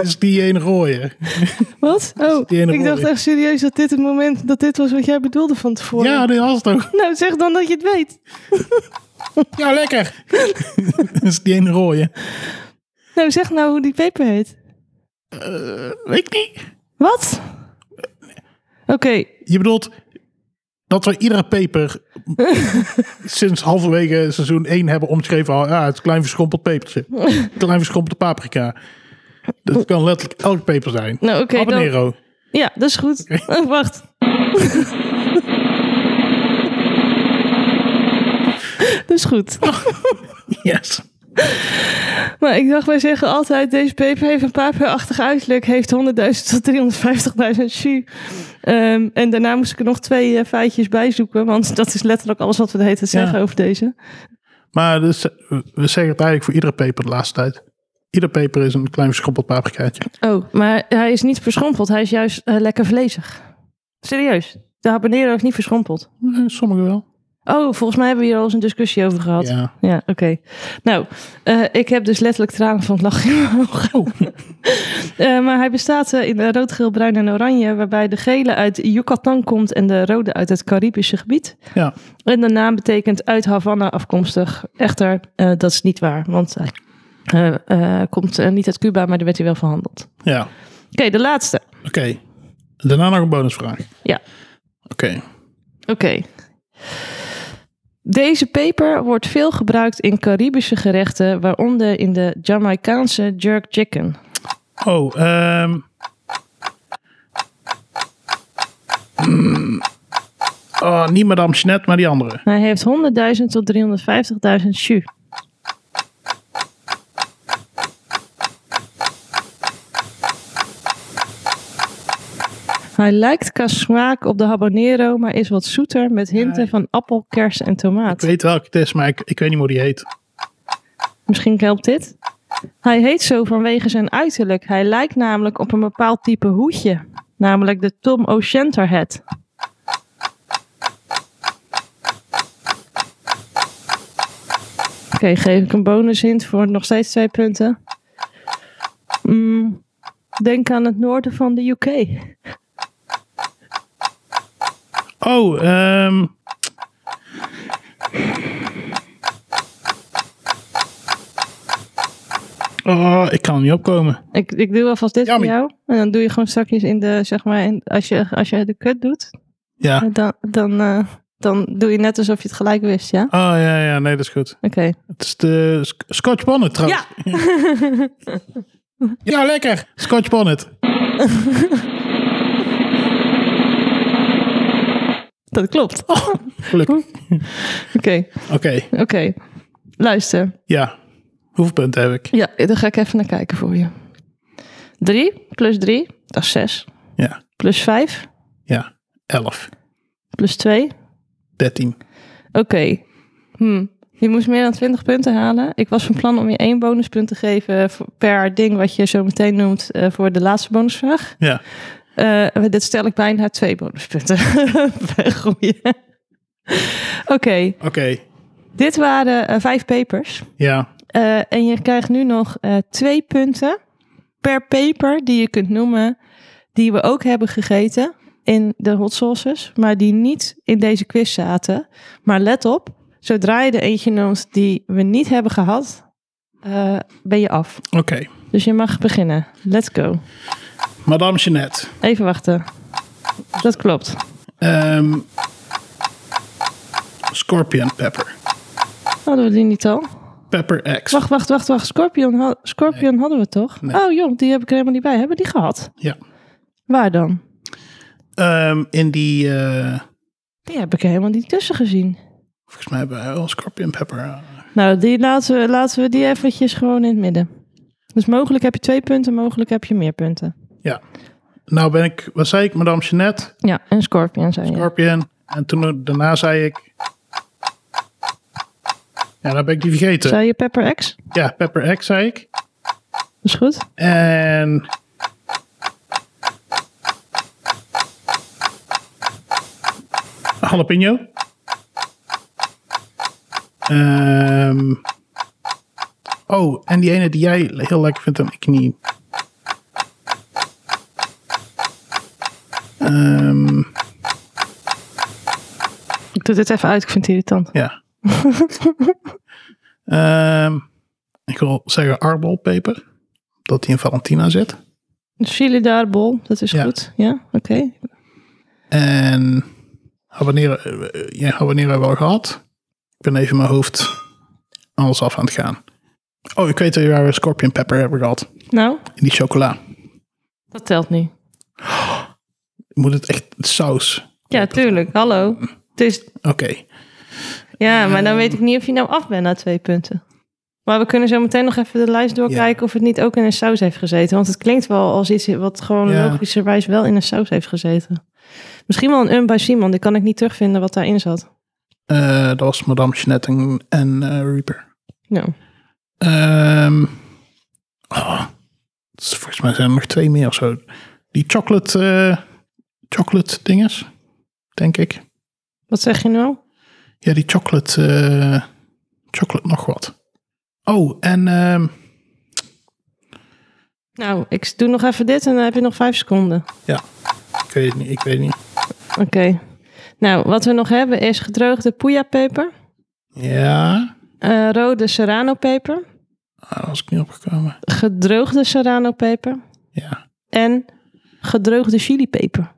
C: is die een rode?
B: Wat? Oh,
C: die ene
B: ik dacht
C: woorden.
B: echt serieus dat dit het moment, dat dit was wat jij bedoelde van tevoren.
C: Ja, die was het ook.
B: Nou, zeg dan dat je het weet.
C: Ja, lekker. dat is die ene rode.
B: Nou, zeg nou hoe die peper heet.
C: Weet ik niet.
B: Wat? Oké,
C: Je bedoelt dat we iedere paper sinds halverwege seizoen 1 hebben omschreven. al, Ja, het is een klein verschrompeld pepertje. klein verschrompelde paprika. Dat kan letterlijk elk peper zijn.
B: nou oké. dan-
C: Habanero.
B: ja, dat is goed. Oh, Wacht. dat is goed.
C: Yes.
B: Maar ik dacht, wij zeggen altijd, deze peper heeft een paperachtig uiterlijk, heeft 100.000 tot 350.000 jus. Ehm, en daarna moest ik er nog twee eh, feitjes bij zoeken, want dat is letterlijk alles wat we de hele tijd
C: Ja.
B: zeggen over deze.
C: Maar dus, we zeggen het eigenlijk voor iedere peper de laatste tijd. Ieder peper is een klein verschrompeld paprikaatje.
B: Oh, maar hij is niet verschrompeld, hij is juist eh, lekker vlezig. Serieus, de habanero is niet verschrompeld.
C: Eh, Sommige wel.
B: Oh, volgens mij hebben we hier al eens een discussie over gehad.
C: Ja.
B: Ja, oké. Nou, eh, ik heb dus letterlijk tranen van het lachen in mijn ogen.
C: Oh.
B: Eh, maar hij bestaat eh, in eh, rood, geel, bruin en oranje, waarbij de gele uit Yucatan komt en de rode uit het Caribische gebied.
C: Ja.
B: En de naam betekent uit Havana afkomstig. Echter, eh, dat is niet waar, want hij eh, eh, komt eh, niet uit Cuba, maar daar werd hij wel verhandeld. Oké,
C: Ja.
B: de laatste.
C: Oké. Daarna nog een bonusvraag.
B: Ja.
C: Oké.
B: Oké. Deze peper wordt veel gebruikt in Caribische gerechten, waaronder in de Jamaicaanse jerk chicken.
C: Oh, ehm. Mm. Oh, niet Madame Chinette, maar die andere.
B: Hij heeft 100.000 tot 350.000 jus. Hij lijkt qua smaak op de habanero, maar is wat zoeter met hinten van appel, kers en
C: Ik
B: tomaat.
C: weet welke het is, maar ik, ik weet niet hoe die heet.
B: Misschien helpt dit. Hij heet zo vanwege zijn uiterlijk. Hij lijkt namelijk op een bepaald type hoedje, namelijk de Tom O'Shanter hat. Oké, geef ik een bonushint voor nog steeds twee punten. Mm, denk aan het noorden van de UK.
C: Oh, ehm. Oh, ik kan er niet opkomen.
B: Ik, ik doe alvast dit
C: Yummy.
B: voor jou. En dan doe je gewoon zakjes in de, zeg maar, in, als, je, als je de kut doet,
C: Ja. Oh,
B: dan, dan, eh, dan doe je net alsof je het gelijk wist, ja?
C: Oh, ja, ja, nee, dat is goed.
B: Oké.
C: Het is de Sc- Scotch Bonnet trouwens. Ja, ja lekker. Scotch Bonnet.
B: Dat klopt.
C: Gelukkig.
B: Oké,
C: Oké,
B: oké. Luister.
C: ja. Hoeveel punten heb ik?
B: Ja, daar ga ik even naar kijken voor je. 3 plus 3, dat is 6.
C: Ja,
B: Plus 5,
C: ja. 11,
B: plus 2. Oké.
C: 13.
B: Hm. Je moest meer dan 20 punten halen. Ik was van plan om je één bonuspunt te geven voor- per ding wat je zo meteen noemt eh, voor de laatste bonusvraag.
C: Ja.
B: Eh, maar dit stel ik bijna twee bonuspunten. Per goeie. Oké,
C: Oké,
B: dit waren eh, vijf papers.
C: ja.
B: Eh, en je krijgt nu nog eh, twee punten per paper die je kunt noemen, die we ook hebben gegeten in de hot sauces, maar die niet in deze quiz zaten. Maar let op, zodra je er eentje noemt die we niet hebben gehad, eh, ben je af.
C: Oké.
B: Dus je mag beginnen. Let's go.
C: Madame Jeannette.
B: Even wachten. Dat klopt.
C: Ehm Scorpion Pepper.
B: Hadden we die niet al?
C: Pepper X.
B: Wacht, wacht, wacht, wacht. Scorpion, ha- Scorpion hadden we toch?
C: Nee.
B: Oh jong, die heb ik er helemaal niet bij. Hebben we die gehad?
C: Ja.
B: Waar dan?
C: Ehm, in die... eh,
B: Die heb ik er helemaal niet tussen gezien.
C: volgens mij hebben we wel Scorpion Pepper. eh.
B: Nou, die laten, we, laten we die eventjes gewoon in het midden. Dus mogelijk heb je twee punten, mogelijk heb je meer punten.
C: ja. Nou ben ik... Wat zei ik? Madame Jeannette.
B: Ja, en Scorpion zijn je.
C: Scorpion. En toen daarna zei ik... Ja, dan ben ik die vergeten.
B: Zei je Pepper X?
C: Ja, Pepper X zei ik.
B: Dat is goed.
C: En... Jalapeno. Ehm, oh, en die ene die jij heel lekker vindt en ik niet. Ehm,
B: Ik doe dit even uit, ik vind het irritant.
C: ja. Ehm, ik wil zeggen arbolpeper. Dat die in Valentina zit.
B: Chili Dus daar, bol, dat is
C: Ja.
B: goed. Ja, oké.
C: En habanero, eh, ja, habanero wel gehad. Ik ben even mijn hoofd alles af aan het gaan. Oh, ik weet weer waar we scorpion pepper hebben gehad.
B: Nou,
C: In die chocola.
B: dat telt niet.
C: Moet het echt saus?
B: Ja, tuurlijk. Hallo. Het is,
C: Oké.
B: ja, maar dan weet ik niet of je nou af bent na twee punten. Maar we kunnen zo meteen nog even de lijst doorkijken of het niet ook in een saus heeft gezeten. Want het klinkt wel als iets wat gewoon
C: Ja.
B: logischerwijs wel in een saus heeft gezeten. Misschien wel een un bij Simon, die kan ik niet terugvinden wat daarin zat.
C: Eh, dat was Madame Jeanette en, en eh, Reaper.
B: Nou,
C: Ehm, oh, het is- volgens mij zijn er nog twee meer of zo. Die chocolate, eh, chocolate dinges, denk ik.
B: wat zeg je nou?
C: Ja, die chocolate, eh, chocolate nog wat. Oh, en ehm,
B: Nou, ik doe nog even dit en dan heb je nog vijf seconden.
C: ja, ik weet het niet, ik weet het niet.
B: Oké. Nou, wat we nog hebben is gedroogde poejapeper,
C: Ja,
B: eh rode serrano peper,
C: ah, daar was ik niet opgekomen.
B: gedroogde serrano peper
C: Ja.
B: en gedroogde chilipeper.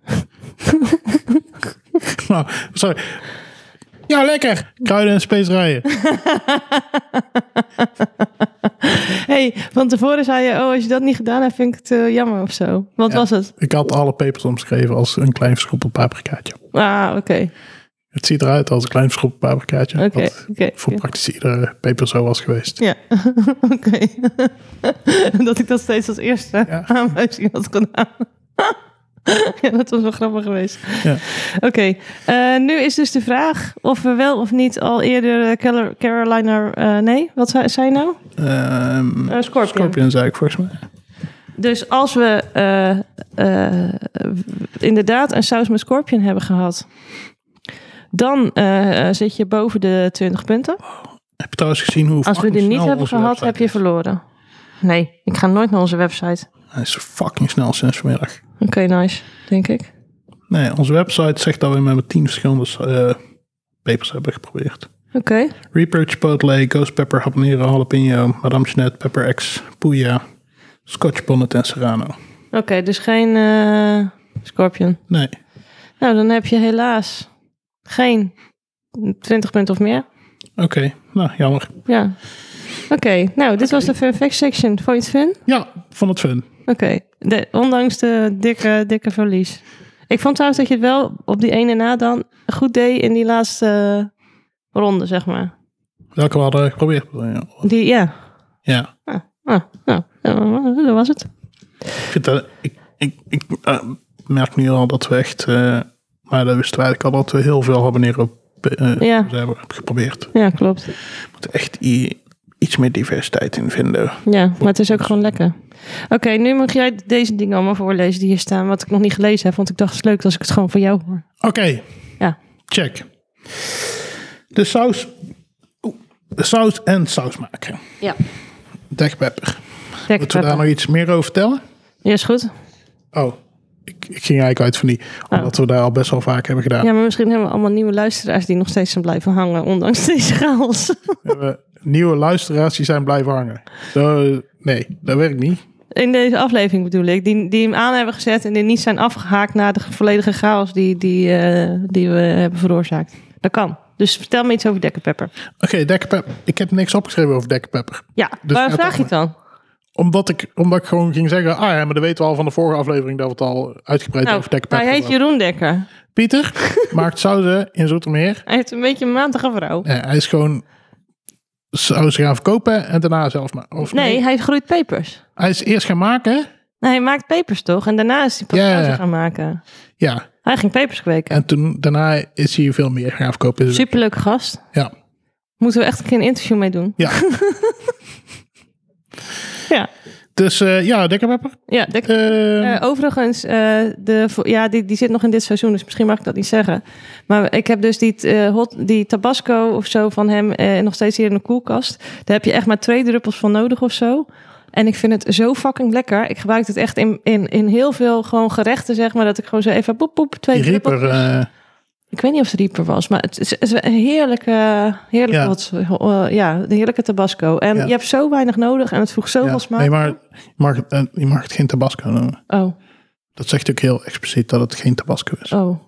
C: Nou, sorry. Ja, lekker. Kruiden en specerijen.
B: Hé, hey, van tevoren zei je, oh, als je dat niet gedaan hebt, vind ik het eh, jammer of zo. Wat
C: Ja.
B: was het?
C: Ik had alle pepers omschreven als een klein verschroepeld paprikaatje.
B: Ah, oké.
C: Het ziet eruit als een klein verschroepeld paprikaatje.
B: Oké,
C: wat
B: oké.
C: voor praktisch iedere peper zo was geweest.
B: Ja, oké. dat ik dat steeds als eerste
C: Ja.
B: aanwijzing had gedaan. ja, dat was wel grappig geweest.
C: Ja.
B: Oké, eh, nu is dus de vraag of we wel of niet al eerder eh, Cal- Carolina... eh, nee, wat zei, zei je nou?
C: Ehm,
B: Eh, Scorpion.
C: Scorpion zei ik volgens mij.
B: Dus als we eh, eh, inderdaad een saus met scorpion hebben gehad... dan eh, zit je boven de 20 punten.
C: Heb je trouwens gezien hoe
B: Als we
C: Oh, fucking
B: die niet
C: snel
B: hebben
C: onze
B: gehad,
C: website
B: heb je
C: is?
B: verloren. Nee, ik ga nooit naar onze website.
C: Hij is fucking snel sinds vanmiddag.
B: Oké, nice, denk ik.
C: Nee, onze website zegt dat we met tien verschillende eh pepers hebben geprobeerd.
B: Oké.
C: Reaper, Chipotle, Ghost Pepper, Habanero, Jalapeno, Madame Jeanette, Pepper X, Puya, Scotch Bonnet en Serrano.
B: Oké, dus geen eh, Scorpion.
C: Nee,
B: Nou, dan heb je helaas geen 20 punten of meer.
C: oké. Nou, jammer.
B: Ja. Oké, nou, dit was de fun fact section. Vond je het fun?
C: Ja, vond het fun.
B: Oké, De- ondanks de dikke, dikke verlies. Ik vond trouwens dat je het wel op die ene na dan goed deed in die laatste eh, ronde, zeg maar.
C: Welke we hadden geprobeerd. bedoel je?
B: Die, ja.
C: Ja,
B: Ah, nou, eh, dat was het.
C: ik, vind dat, ik, ik, ik eh, merk nu al dat we echt... eh, maar dat wisten we eigenlijk al dat we heel veel Habanero eh
B: Ja.
C: hebben geprobeerd. We
B: Ja, klopt.
C: moeten echt i- iets meer diversiteit in vinden.
B: Ja, maar het is ook gewoon lekker. Oké, nu mag jij deze dingen allemaal voorlezen die hier staan, wat ik nog niet gelezen heb, want ik dacht het is leuk als ik het gewoon van jou hoor.
C: Oké.
B: Ja.
C: Check. De saus. oeh, de saus en saus maken.
B: Ja.
C: Dekpepper.
B: Lekker
C: Moeten we daar nou nog iets meer over vertellen?
B: Ja, is goed.
C: Oh, ik, ik ging eigenlijk uit van die. Omdat we daar al best wel vaak hebben gedaan.
B: Oh. Ja, maar misschien hebben we allemaal nieuwe luisteraars die nog steeds zijn blijven hangen, ondanks deze chaos.
C: We hebben nieuwe luisteraars die zijn blijven hangen. Zo, nee, dat werkt niet.
B: In deze aflevering bedoel ik, die, die hem aan hebben gezet en die niet zijn afgehaakt na de volledige chaos die, die, eh, die we hebben veroorzaakt. Dat kan. Dus vertel me iets over dekkenpepper.
C: Oké, dekpepper. Ik heb niks opgeschreven over dekpepper.
B: Ja,
C: Dus
B: waarom
C: gaat
B: vraag je het dan?
C: Omdat ik, omdat ik gewoon ging zeggen. Ah ja, maar dat weten we al van de vorige aflevering. Dat we het al uitgebreid
B: Nou,
C: over dekpepper
B: hij heet
C: hadden.
B: Jeroen Dekker.
C: Pieter maakt sauzen in Zoetermeer.
B: Hij heeft een beetje een maandige vrouw.
C: Nee, Eh, hij is gewoon zou ze gaan verkopen en daarna zelf maken. Of
B: Nee, hij groeit pepers.
C: Hij is eerst gaan maken.
B: Nee, hij maakt pepers toch? En daarna is hij pas
C: Ja, ja,
B: sauzen
C: ja.
B: gaan maken.
C: Ja.
B: Hij ging pepers kweken.
C: En toen daarna is hij veel meer gaan verkopen. Dus-
B: Superleuke gast.
C: Ja.
B: Moeten we echt een keer een interview mee doen?
C: Ja.
B: Ja,
C: Dus eh, ja, dekkerpepper.
B: ja dek-
C: Eh,
B: Eh, overigens, eh, de, vo- ja, die, die zit nog in dit seizoen, dus misschien mag ik dat niet zeggen. Maar ik heb dus die, t- eh, hot, die Tabasco of zo van hem eh, nog steeds hier in de koelkast. Daar heb je echt maar twee druppels van nodig of zo. En ik vind het zo fucking lekker. Ik gebruik het echt in, in, in heel veel gewoon gerechten, zeg maar. Dat ik gewoon zo even boep, boep, twee
C: Die Reaper,
B: druppeltjes.
C: eh,
B: Ik weet niet of het Reaper was, maar het is, het is een heerlijke, heerlijke,
C: Ja.
B: wat, eh, ja, de heerlijke tabasco. En
C: Ja.
B: je hebt zo weinig nodig en het voegt zoveel
C: ja.
B: smaak.
C: Nee, maar je mag, het, eh, je mag het geen tabasco noemen.
B: Oh,
C: Dat zegt ook heel expliciet dat het geen tabasco is.
B: oh,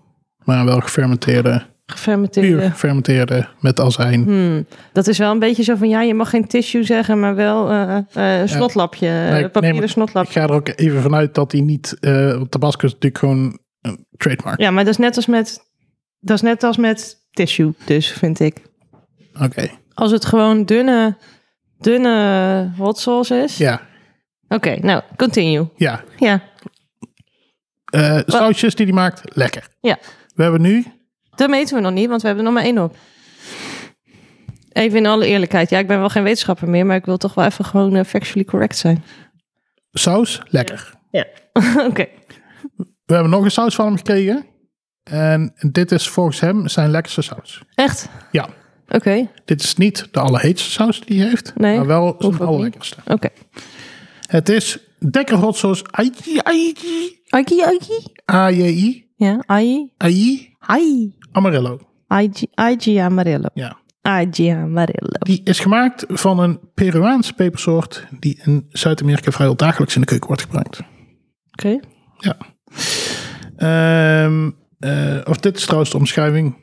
C: Maar wel gefermenteerde, puur
B: gefermenteerde.
C: gefermenteerde met azijn.
B: Hmm. Dat is wel een beetje zo van, ja, je mag geen tissue zeggen, maar wel eh, eh, een snotlapje, eh,
C: nee,
B: papieren
C: maar- Ik
B: snotlapje.
C: ga er ook even vanuit dat hij niet... eh, want tabasco is natuurlijk gewoon een trademark.
B: Ja, maar dat is net als met, dat is net als met tissue, dus vind ik.
C: Oké,
B: Als het gewoon dunne, dunne hot sauce is.
C: ja.
B: Oké, nou, continue.
C: ja.
B: Ja,
C: Eh, sausjes die hij maakt, lekker.
B: ja.
C: We hebben nu...
B: Dat meten we nog niet, want we hebben er nog maar één op. Even in alle eerlijkheid. Ja, ik ben wel geen wetenschapper meer, maar ik wil toch wel even gewoon eh, factually correct zijn.
C: Saus, lekker.
B: Ja. Oké.
C: We hebben nog een saus van hem gekregen. En dit is volgens hem zijn lekkerste saus.
B: Echt?
C: Ja.
B: Oké.
C: Dit is niet de allerheetste saus die hij heeft.
B: Nee,
C: maar wel
B: hoeft ook
C: zijn
B: niet.
C: allerlekkerste.
B: Oké.
C: Het is Dekker Hot Sauce AJI.
B: Aiki, aiki.
C: AJI.
B: Ja, ai.
C: AJI.
B: Ai.
C: Amarillo.
B: Aigi aigi amarillo.
C: Ja.
B: Aigi amarillo.
C: Die is gemaakt van een Peruaanse pepersoort die in Zuid-Amerika vrijwel dagelijks in de keuken wordt gebruikt.
B: Oké.
C: Ja. Ehm, eh, of dit is trouwens de omschrijving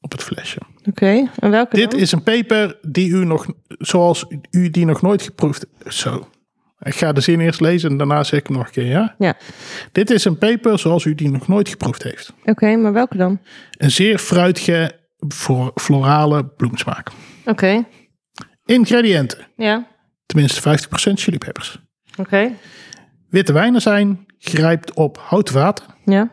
C: op het flesje.
B: Oké. En welke
C: Dit
B: dan?
C: is een peper die u nog, zoals u die nog nooit geproefd Zo. Ik ga de zin eerst lezen en daarna zeg ik hem nog een keer, ja?
B: Ja.
C: Dit is een peper zoals u die nog nooit geproefd heeft.
B: Oké, maar welke dan?
C: Een zeer fruitige, flo- florale bloemsmaak.
B: Oké.
C: Ingrediënten.
B: Ja.
C: Tenminste 50% chilipepers.
B: Oké.
C: Witte wijnen zijn, grijpt op hout water
B: Ja.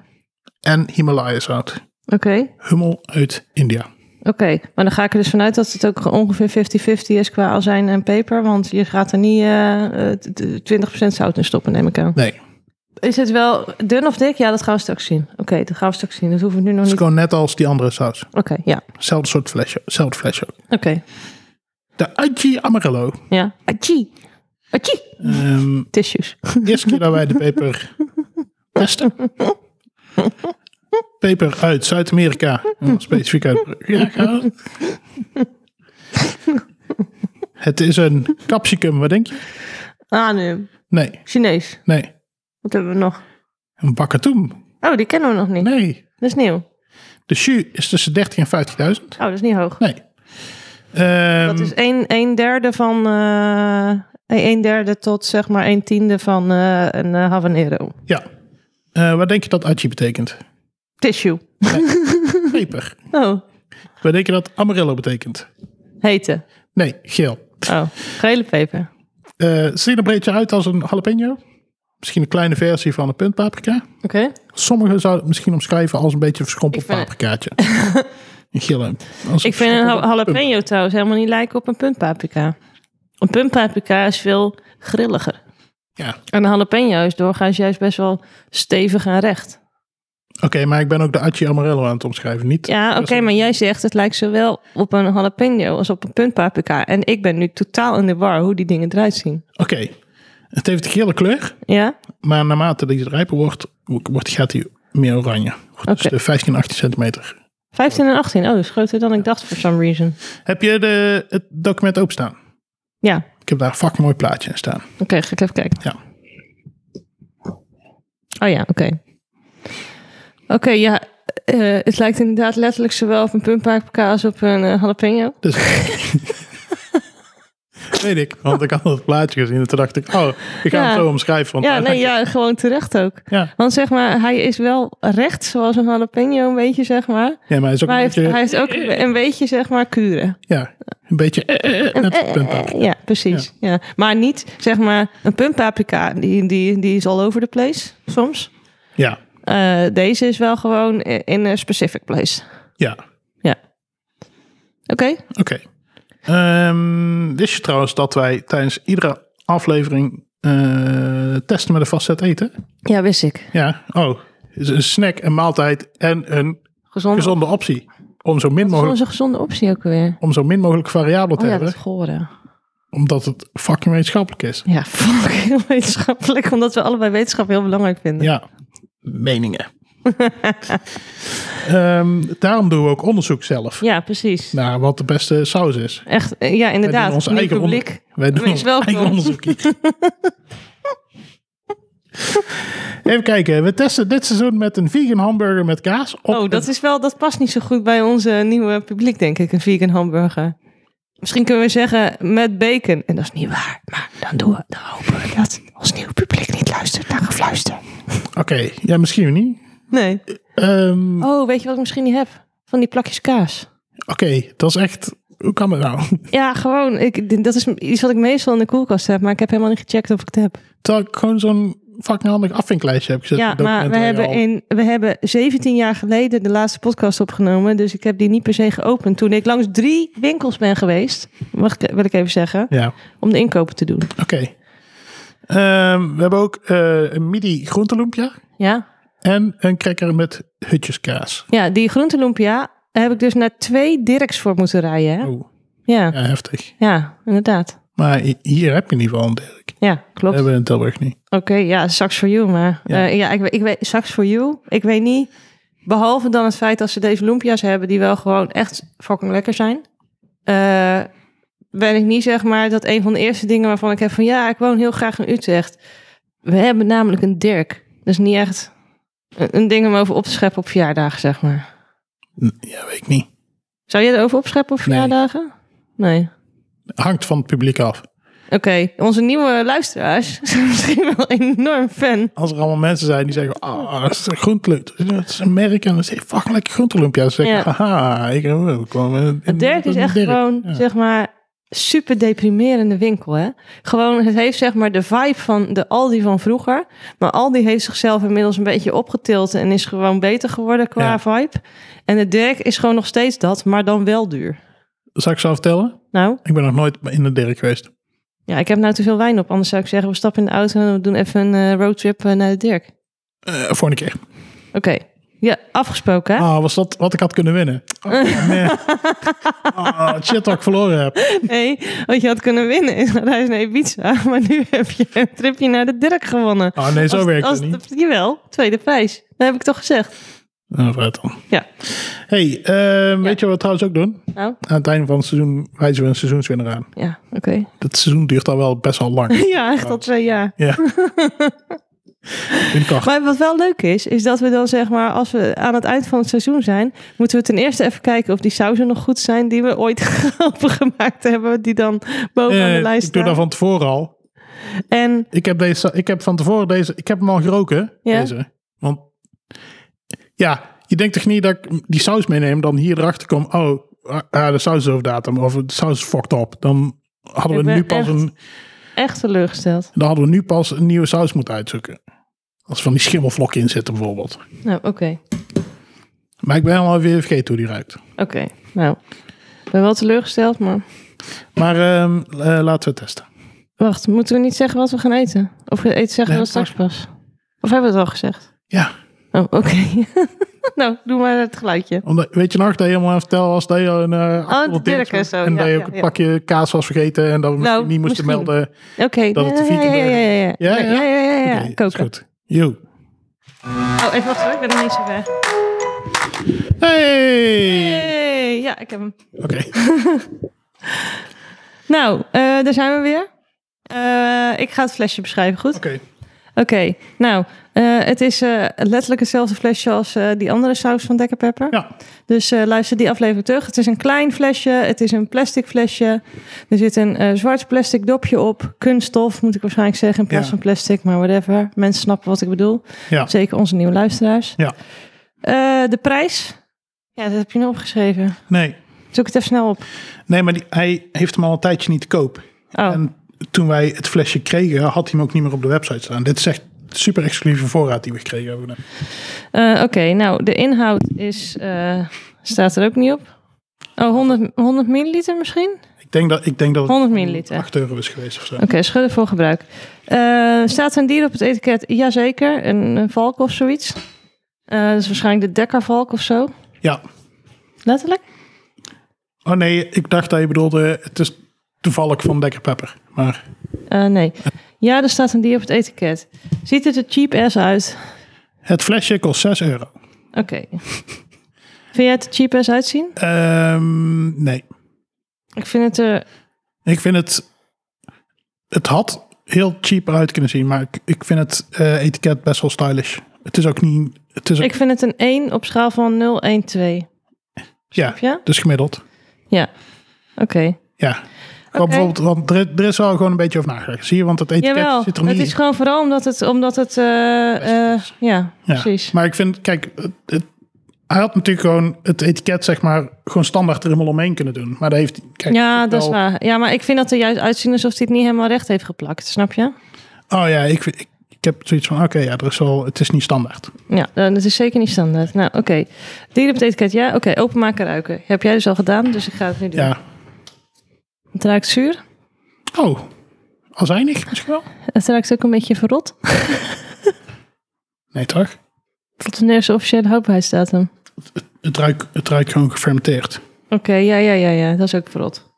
C: en Himalaya zout.
B: Oké.
C: Hummel uit India.
B: Oké, maar dan ga ik er dus vanuit dat het ook ongeveer 50-50 is qua azijn en peper. Want je gaat er niet eh, eh, t- t- 20% zout in stoppen, neem ik aan.
C: Nee, het
B: Is het wel dun of dik? Ja, dat gaan we straks zien. Oké, dat gaan we straks zien. Dat hoeven we nu nog
C: is
B: niet.
C: gewoon net als die andere saus.
B: Oké, ja.
C: Hetzelfde soort flesje. Hetzelfde flesje ook.
B: Oké,
C: De Aji Amarillo.
B: ja. Achi. Achi.
C: Ehm,
B: Tissues.
C: eerste keer dat wij de peper testen. Peper uit Zuid-Amerika. Oh, Specifiek uit. Ja, ga. Het is een capsicum, wat denk je?
B: Ah, nu.
C: Nee,
B: Chinees.
C: nee.
B: Wat hebben we nog?
C: Een bakatoem.
B: Oh, die kennen we nog niet.
C: Nee.
B: Dat is nieuw.
C: De shoe is tussen 13 en 50.000.
B: Oh, dat is niet hoog.
C: Nee. Ehm,
B: Dat is een, een derde van... eh een derde tot zeg maar een tiende van eh, een eh, habanero.
C: Ja. Eh, wat denk je dat Aji betekent?
B: Tissue.
C: Peper.
B: Oh,
C: Wat denk je dat Amarillo betekent?
B: hete.
C: Nee, geel.
B: Oh, gele peper.
C: Eh ziet er een beetje uit als een jalapeno. Misschien een kleine versie van een puntpaprika.
B: Oké.
C: Sommigen zouden het misschien omschrijven als een beetje een verschrompeld
B: Ik vind-
C: paprikaatje. Een gille. Als een
B: Ik vind een
C: verschrompelde
B: ha-
C: punt.
B: jalapeno trouwens helemaal niet lijken op een puntpaprika. Een puntpaprika is veel grilliger.
C: Ja,
B: En een jalapeno is doorgaans juist best wel stevig en recht.
C: oké, maar ik ben ook de Aci Amarillo aan het omschrijven. Niet
B: Ja, oké, maar jij zegt het lijkt zowel op een jalapeno als op een puntpaprika. En ik ben nu totaal in de war hoe die dingen eruit zien.
C: Oké, het heeft een gele kleur,
B: Ja?
C: maar naarmate die rijper wordt, wordt gaat hij meer oranje. Wordt Dus
B: Oké.
C: de 15, 18 centimeter.
B: 15 en 18. Oh, dat is groter dan ik dacht for some reason.
C: Heb je de, het document openstaan?
B: Ja, oké,
C: Ik heb daar een fucking mooi plaatje in staan.
B: ga ik even kijken.
C: Ja.
B: Oh ja, oké. Oké, ja. eh, het lijkt inderdaad letterlijk zowel op een puntpaprika als op een eh, jalapeno.
C: Dus. Weet ik, want ik had het plaatje gezien en toen dacht ik, oh, ik ga
B: Ja.
C: hem zo omschrijven. Want
B: Ja, nee, ja, gewoon terecht ook.
C: Ja.
B: Want zeg maar, hij is wel recht, zoals een jalapeno een beetje, zeg maar.
C: Ja, maar hij is ook
B: Maar hij
C: een
B: heeft,
C: beetje,
B: hij heeft ook een beetje, zeg maar, kuren.
C: ja, een beetje eh, eh, net op het punt af.
B: Eh, Ja, precies. Ja. Maar niet, zeg maar, een puntpaprika, die, die, die is all over the place, soms.
C: Ja,
B: Eh, deze is wel gewoon i- in een specific place.
C: ja,
B: Ja. Oké.
C: oké. Ehm, wist je trouwens dat wij tijdens iedere aflevering eh, testen met een vastzet eten?
B: Ja, wist ik.
C: Ja, oh, is een snack, een maaltijd en een
B: Gezond.
C: gezonde optie. Om zo min
B: Dat is
C: mogelijk,
B: onze gezonde optie ook weer.
C: om zo min mogelijk variabelen te
B: Oh ja,
C: hebben.
B: dat is goren.
C: Omdat het fucking wetenschappelijk is.
B: Ja, fuck, heel wetenschappelijk. Omdat we allebei wetenschap heel belangrijk vinden.
C: Ja, meningen. Ehm, daarom doen we ook onderzoek zelf.
B: Ja, precies.
C: Naar wat de beste saus is.
B: Echt, eh, ja,
C: Wij
B: inderdaad.
C: doen ons
B: Nieuw
C: eigen onder-
B: publiek.
C: Wij doen
B: Wees
C: ons
B: welkom.
C: eigen onderzoek hier. Even kijken, we testen dit seizoen met een vegan hamburger met kaas. Op
B: Oh, dat,
C: een-
B: is wel, dat past niet zo goed bij onze nieuwe publiek, denk ik. Een vegan hamburger. Misschien kunnen we zeggen met bacon. En dat is niet waar. Maar dan, doen we, dan hopen we dat ons nieuwe publiek niet luistert naar gefluister.
C: Oké, ja, misschien niet.
B: Nee.
C: Ehm,
B: Oh, weet je wat ik misschien niet heb? Van die plakjes kaas.
C: Oké, dat is echt... Hoe kan dat nou?
B: Ja, gewoon. Ik, dat is iets wat ik meestal in de koelkast heb. Maar ik heb helemaal niet gecheckt of ik het heb.
C: Terwijl ik gewoon zo'n fucking handig afvinklijstje heb gezet.
B: Ja,
C: met
B: maar we
C: documenten waar
B: hebben,
C: je al-
B: in, we hebben 17 jaar geleden de laatste podcast opgenomen. Dus ik heb die niet per se geopend. Toen ik langs drie winkels ben geweest, mag ik, wil ik even zeggen,
C: Ja,
B: om de inkopen te doen.
C: oké. Ehm, we hebben ook eh, een midi groenteloempje
B: Ja,
C: en een cracker met hutjeskaas.
B: ja die groentelumpia heb ik dus naar twee Dirks voor moeten rijden. Hè?
C: Oh,
B: Ja,
C: ja, heftig.
B: ja, inderdaad.
C: Maar hi- hier heb je in ieder geval een Dirk.
B: Ja,
C: Dat
B: klopt.
C: hebben
B: Oké,
C: we in Tilburg niet.
B: ja, sucks for you. Maar eh,
C: Ja.
B: ja, ja ik, we- ik weet, sucks for you. Ik weet niet, behalve dan het feit dat ze deze lumpia's hebben, die wel gewoon echt fucking lekker zijn. Eh ben ik niet zeg maar dat een van de eerste dingen waarvan ik heb van ja, ik woon heel graag in Utrecht. We hebben namelijk een Dirk. Dat is niet echt een, een ding om over op te scheppen op verjaardagen, zeg maar.
C: N- Ja, weet ik niet.
B: Zou jij erover opscheppen op
C: Nee.
B: verjaardagen? Nee.
C: Hangt van het publiek af.
B: Oké, onze nieuwe luisteraars zijn misschien wel enorm fan.
C: Als er allemaal mensen zijn die zeggen, ah, dat is een groentelump. Dat is een merk en dat is een fucking lekker groentelump. Ja, ze zeggen,
B: Ja.
C: haha, ik eh, wil komen.
B: Dirk is echt gewoon, zeg maar, super deprimerende winkel, hè? Gewoon, het heeft zeg maar de vibe van de Aldi van vroeger. Maar Aldi heeft zichzelf inmiddels een beetje opgetild en is gewoon beter geworden qua
C: Ja.
B: vibe. En de Dirk is gewoon nog steeds dat, maar dan wel duur.
C: Zal ik zo vertellen?
B: Nou,
C: Ik ben nog nooit in de Dirk geweest.
B: ja, ik heb nou te veel wijn op. Anders zou ik zeggen, we stappen in de auto en we doen even een eh, roadtrip eh, naar de Dirk.
C: Eh volgende keer.
B: Oké, ja, afgesproken, hè?
C: Ah, was dat wat ik had kunnen winnen? Oh, nee. Ah, shit dat ik verloren heb.
B: Nee, want je had kunnen winnen in een reis naar Ibiza. Maar nu heb je een tripje naar de Dirk gewonnen.
C: Ah, nee, zo
B: Als-
C: werkt
B: als
C: het niet.
B: de- jawel, tweede prijs. Dat heb ik toch gezegd.
C: Nou, vooruit dan.
B: Ja.
C: hey, ehm, weet je wat we trouwens ook doen?
B: Nou,
C: Aan het einde van het seizoen wijzen we een seizoenswinnaar aan.
B: ja, oké.
C: Dat seizoen duurt al wel best wel lang.
B: Ja, echt al twee jaar.
C: Ja. In kacht.
B: Maar wat wel leuk is, is dat we dan zeg maar, als we aan het eind van het seizoen zijn, moeten we ten eerste even kijken of die sauzen nog goed zijn die we ooit gemaakt hebben, die dan boven aan de
C: Eh,
B: lijst
C: ik doe dat
B: staan.
C: van tevoren al.
B: En
C: Ik heb, deze, ik heb van tevoren deze. Ik heb hem al geroken.
B: Ja.
C: Deze. Want ja, je denkt toch niet dat ik die saus meeneem, dan hier erachter kom. Oh, ah, ah, de saus is over datum. Of de saus is fucked up. Dan hadden
B: Ik
C: we
B: ben
C: nu pas
B: echt-
C: een.
B: echt teleurgesteld.
C: Dan hadden we nu pas een nieuwe saus moeten uitzoeken. Als er van die schimmelvlokken in zitten bijvoorbeeld.
B: Nou, oké.
C: Maar ik ben helemaal weer vergeten hoe die ruikt.
B: Oké, nou. Ik ben wel teleurgesteld, maar...
C: Maar ehm, eh, laten we het testen.
B: Wacht, moeten we niet zeggen wat we gaan eten? Of we eten zeggen
C: Nee,
B: we dat straks pas? Of hebben we het al gezegd?
C: Ja,
B: Oh, oké. nou, doe maar het geluidje.
C: omdat, weet je nog dat je helemaal vertelde als dat je een uh,
B: Oh, de Dirk en zo,
C: en
B: ja,
C: dat je
B: ja,
C: ook
B: ja. Nou,
C: een pakje kaas was vergeten en dat we misschien niet moesten
B: misschien.
C: melden
B: Oké.
C: Dat het de
B: ja, ja, ja, ja, ja, ja.
C: Ja,
B: Nee,
C: ja.
B: ja, ja, ja, ja.
C: Oké, dat is
B: Koken.
C: goed. Yo.
B: Oh, even wachten hoor, ik ben nog niet zo ver.
C: Hey!
B: Hey, ja, ik heb hem.
C: Oké.
B: Nou, eh, daar zijn we weer. Eh, ik ga het flesje beschrijven, goed?
C: Oké.
B: Oké, nou, eh, het is eh, letterlijk hetzelfde flesje als eh, die andere saus van Dekker Pepper.
C: Ja.
B: Dus eh, luister die aflevering terug. Het is een klein flesje, het is een plastic flesje. Er zit een eh, zwart plastic dopje op. Kunststof moet ik waarschijnlijk zeggen in plaats
C: Ja.
B: van plastic, maar whatever. Mensen snappen wat ik bedoel.
C: Ja.
B: Zeker onze nieuwe luisteraars.
C: Ja.
B: Eh, de prijs? Ja, dat heb je nu opgeschreven.
C: Nee.
B: Zoek het even snel op.
C: Nee, maar die, hij heeft hem al een tijdje niet te koop.
B: Oh,
C: En toen wij het flesje kregen, had hij hem ook niet meer op de website staan. Dit is echt super exclusieve voorraad die we gekregen hebben.
B: Eh, oké. nou, de inhoud is, eh, staat er ook niet op. Oh, 100, 100 milliliter misschien?
C: Ik denk dat, ik denk dat het
B: 100 milliliter.
C: 8 euro is geweest of zo.
B: Oké, schudden voor gebruik. Eh, staat er een dier op het etiket? Jazeker, een, een valk of zoiets. Eh dat is waarschijnlijk de dekkervalk of zo.
C: Ja.
B: Letterlijk?
C: Oh nee, ik dacht dat je bedoelde, het is toevallig van Dekker Pepper. Maar
B: Eh, nee. Ja, er staat een dier op het etiket. Ziet het er cheap ass uit?
C: het flesje kost 6 euro.
B: Oké. Vind jij het er cheap ass uitzien?
C: Eh. Ehm, nee.
B: Ik vind het er...
C: Ik vind het. Het had heel cheap eruit kunnen zien, maar ik, ik vind het eh, etiket best wel stylish. Het is ook niet. Het is ook,
B: Ik vind het een 1 op schaal van 0, 1, 2.
C: ja,
B: ja?
C: dus gemiddeld.
B: Ja. Oké.
C: Ja. Want, bijvoorbeeld, want er, er is wel gewoon een beetje over nagedacht. Zie je, want het etiket
B: Jawel,
C: zit er niet
B: het is
C: in.
B: gewoon vooral omdat het... Omdat het eh, eh, ja,
C: Ja.
B: precies.
C: Maar ik vind, kijk, het, het- hij had natuurlijk gewoon het etiket, zeg maar, gewoon standaard er helemaal omheen kunnen doen. Maar dat heeft hij- kijk,
B: Ja,
C: het
B: dat is
C: wel-
B: waar. Ja, maar ik vind dat er juist uitzien alsof hij het niet helemaal recht heeft geplakt. Snap je?
C: Oh ja, ik, vind- ik, ik heb zoiets van, oké, ja, er is wel, het is niet standaard.
B: Ja, eh, dat is zeker niet standaard. Nou, oké. Dieren op het etiket, ja? Oké, openmaken ruiken. Heb jij dus al gedaan, dus ik ga het nu doen.
C: Ja.
B: Het ruikt zuur.
C: Oh, azijnig misschien wel?
B: Het ruikt ook een beetje verrot.
C: Nee, toch?
B: Tot wanneer is de officiële houdbaarheidsdatum?
C: Het ruikt, het ruikt gewoon gefermenteerd.
B: Oké, ja, ja, ja, ja. Dat is ook verrot.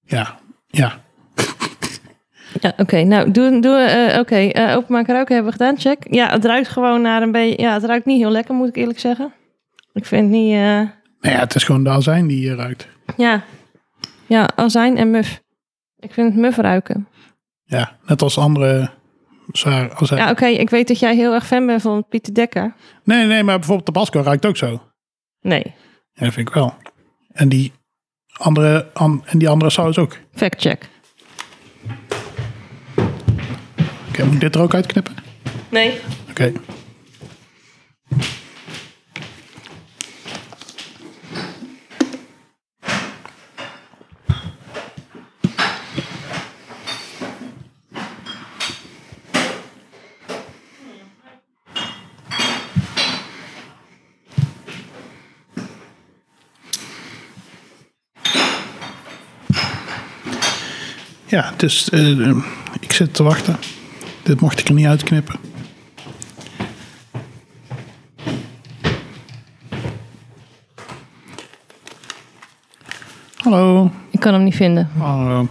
C: Ja, ja.
B: Ja, oké. nou, doe, doe, eh, oké. eh, openmaken ruiken hebben we gedaan, check. Ja, het ruikt gewoon naar een beetje... Ja, het ruikt niet heel lekker, moet ik eerlijk zeggen. Ik vind het niet... eh,
C: Nou ja, het is gewoon de azijn die hier ruikt.
B: ja. Ja, azijn en muf. Ik vind het muf ruiken.
C: Ja, net als andere zwaar azijn.
B: Ja, oké. ik weet dat jij heel erg fan bent van Pieter Dekker.
C: Nee, nee, maar bijvoorbeeld Tabasco ruikt ook zo.
B: Nee.
C: Ja, dat vind ik wel. En die andere, an- en die andere saus ook. Oké,
B: Fact check.
C: moet ik dit er ook uitknippen?
B: Nee.
C: Oké. Ja, dus eh, eh, ik zit te wachten. Dit mocht ik er niet uitknippen. Hallo.
B: Ik kan hem niet vinden.
C: Hallo.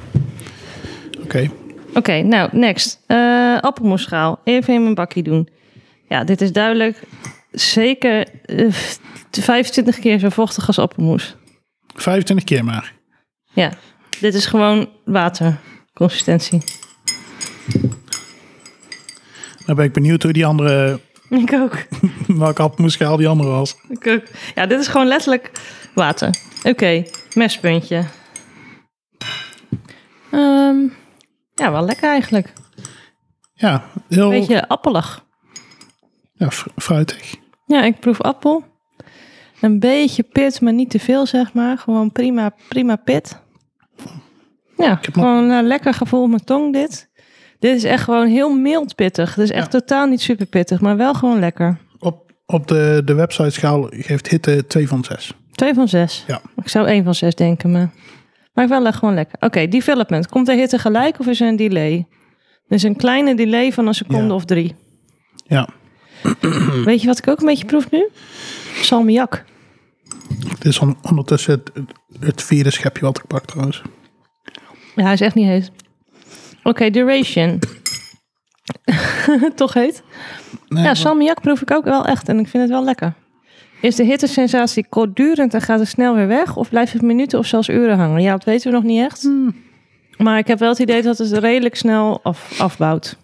C: Oké.
B: Oké, nou, next. Eh appelmoesschaal. Even in mijn bakje doen. Ja, dit is duidelijk zeker eh, 25 keer zo vochtig als appelmoes.
C: 25 keer maar.
B: Ja, dit is gewoon waterconsistentie.
C: Dan ben ik benieuwd hoe die andere,
B: Ik ook.
C: welke appelmoeschaal die andere was.
B: Ik ook. Ja, dit is gewoon letterlijk water. Oké, mespuntje. Ehm, ja, wel lekker eigenlijk.
C: Ja, heel
B: Beetje appelig.
C: ja, fr- fruitig.
B: Ja, ik proef appel. Een beetje pit, maar niet te veel, zeg maar. Gewoon prima, prima pit. Ja,
C: heb nog-
B: gewoon een lekker gevoel op mijn tong dit. Dit is echt gewoon heel mild pittig. Dit is echt totaal niet super pittig, maar wel gewoon lekker.
C: Op, op de, de website schaal geeft hitte 2 van 6.
B: Twee van zes.
C: Ja.
B: Ik zou één van zes denken, maar... Maar wel echt gewoon lekker. Oké, development. Komt de hitte gelijk of is er een delay? Dus een kleine delay van een seconde
C: Ja. Mm.
B: of drie.
C: Ja,
B: Weet je wat ik ook een beetje proef nu? Salmiak.
C: dit is on- ondertussen het, het vierde schepje wat ik pak trouwens.
B: Ja, hij is echt niet heet. Oké, duration. Toch heet?
C: Nee,
B: ja, salmiak proef ik ook wel echt en ik vind het wel lekker. Is de hittesensatie kortdurend en gaat het snel weer weg? Of blijft het minuten of zelfs uren hangen? Ja, dat weten we nog niet echt. Maar ik heb wel het idee dat het redelijk snel af, afbouwt.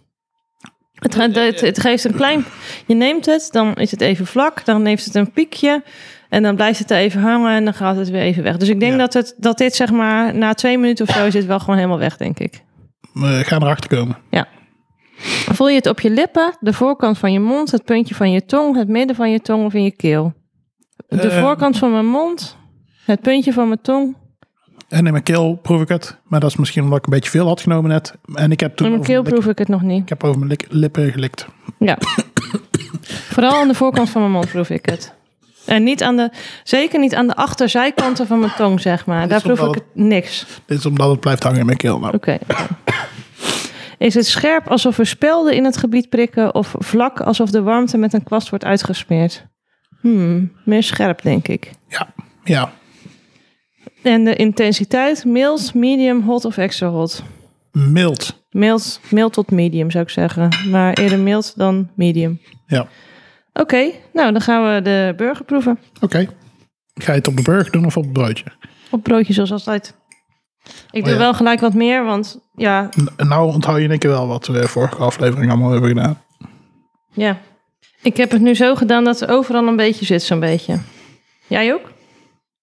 B: Het, ge- het, het geeft een klein... Je neemt het, dan is het even vlak. Dan heeft het een piekje. En dan blijft het er even hangen en dan gaat het weer even weg. Dus ik denk
C: Ja.
B: dat, het, dat dit zeg maar... Na twee minuten of zo is het wel gewoon helemaal weg, denk ik.
C: we gaan erachter komen.
B: Ja. Voel je het op je lippen, de voorkant van je mond, het puntje van je tong, het midden van je tong of in je keel? De
C: Eh.
B: voorkant van mijn mond, het puntje van mijn tong.
C: En in mijn keel proef ik het. Maar dat is misschien omdat ik een beetje veel had genomen net. En Oh, ik heb toen
B: In mijn
C: over
B: keel
C: mijn lip-
B: proef ik het nog
C: ik
B: niet.
C: heb over mijn lik- lippen gelikt.
B: Ja. Vooral aan de voorkant van mijn mond proef ik het. En niet aan de, zeker niet aan de achterzijkanten van mijn tong, zeg maar. Daar
C: is
B: proef ik
C: omdat-
B: het niks.
C: Dit is omdat het blijft hangen in mijn keel. Nou,
B: Oké. Is het scherp alsof er spelden in het gebied prikken of vlak alsof de warmte met een kwast wordt uitgesmeerd? Hmm, meer scherp denk ik.
C: ja, ja.
B: En de intensiteit mild, medium, hot of extra hot?
C: Mild.
B: Mild, mild tot medium zou ik zeggen. Maar eerder mild dan medium.
C: Ja.
B: Oké, nou dan gaan we de burger proeven.
C: Oké. Ga je het op de burger doen of op het broodje?
B: Op broodje zoals altijd. Ik doe
C: Oh ja.
B: wel gelijk wat meer, want ja,
C: N- nou onthoud je in één keer wel wat we vorige aflevering allemaal hebben gedaan.
B: ja. Ik heb het nu zo gedaan dat er overal een beetje zit, zo'n beetje. Jij ook?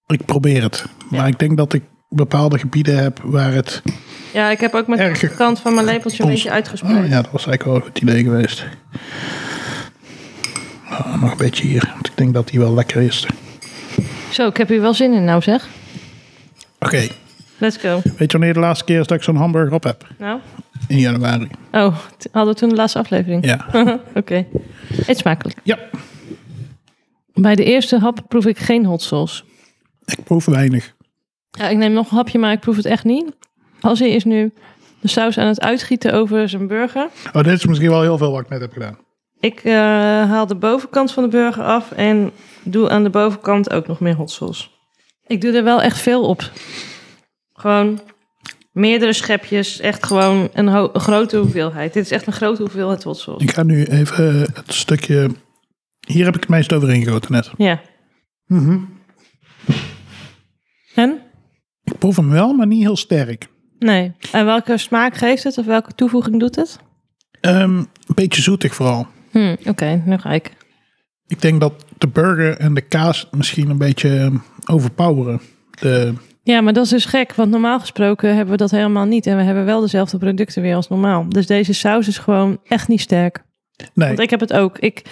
C: Ik probeer het. Maar ik denk dat ik bepaalde gebieden heb waar het...
B: Ja, ik heb ook met
C: Erger.
B: de kant van mijn lepeltje een
C: Ons-
B: beetje
C: Oh
B: uitgespreid.
C: ja, dat was eigenlijk wel een goed idee geweest. Oh, nog een beetje hier. Want ik denk dat die wel lekker is. Oké.
B: Zo, ik heb hier wel zin in nou zeg. Let's go.
C: Weet je wanneer de laatste keer is dat ik zo'n hamburger op heb?
B: Nou.
C: In januari.
B: Oh, t- hadden we toen de laatste aflevering?
C: Ja.
B: Oké. Eet smakelijk.
C: Ja.
B: Bij de eerste hap proef ik geen hot sauce.
C: Ik proef weinig.
B: Ja, ik neem nog een hapje, maar ik proef het echt niet. Hazzy is nu de saus aan het uitgieten over zijn burger.
C: Oh, dit is misschien wel heel veel wat ik net heb gedaan.
B: Ik eh, haal de bovenkant van de burger af en doe aan de bovenkant ook nog meer hot sauce. Ik doe er wel echt veel op. Gewoon meerdere schepjes, echt gewoon een, ho- een grote hoeveelheid. Dit is echt een grote hoeveelheid hot sauce.
C: Ik ga nu even eh, het stukje... Hier heb ik het meest over ingegoten net.
B: Ja. En?
C: Ik proef hem wel, maar niet heel sterk.
B: Nee. En welke smaak geeft het of welke toevoeging doet het?
C: Ehm, een beetje zoetig vooral.
B: Hm, Oké, nu ga ik.
C: Ik denk dat de burger en de kaas misschien een beetje ehm, overpoweren. De,
B: Ja, maar dat is dus gek, want normaal gesproken hebben we dat helemaal niet. En we hebben wel dezelfde producten weer als normaal. Dus deze saus is gewoon echt niet sterk.
C: nee,
B: Want ik heb het ook. Ik,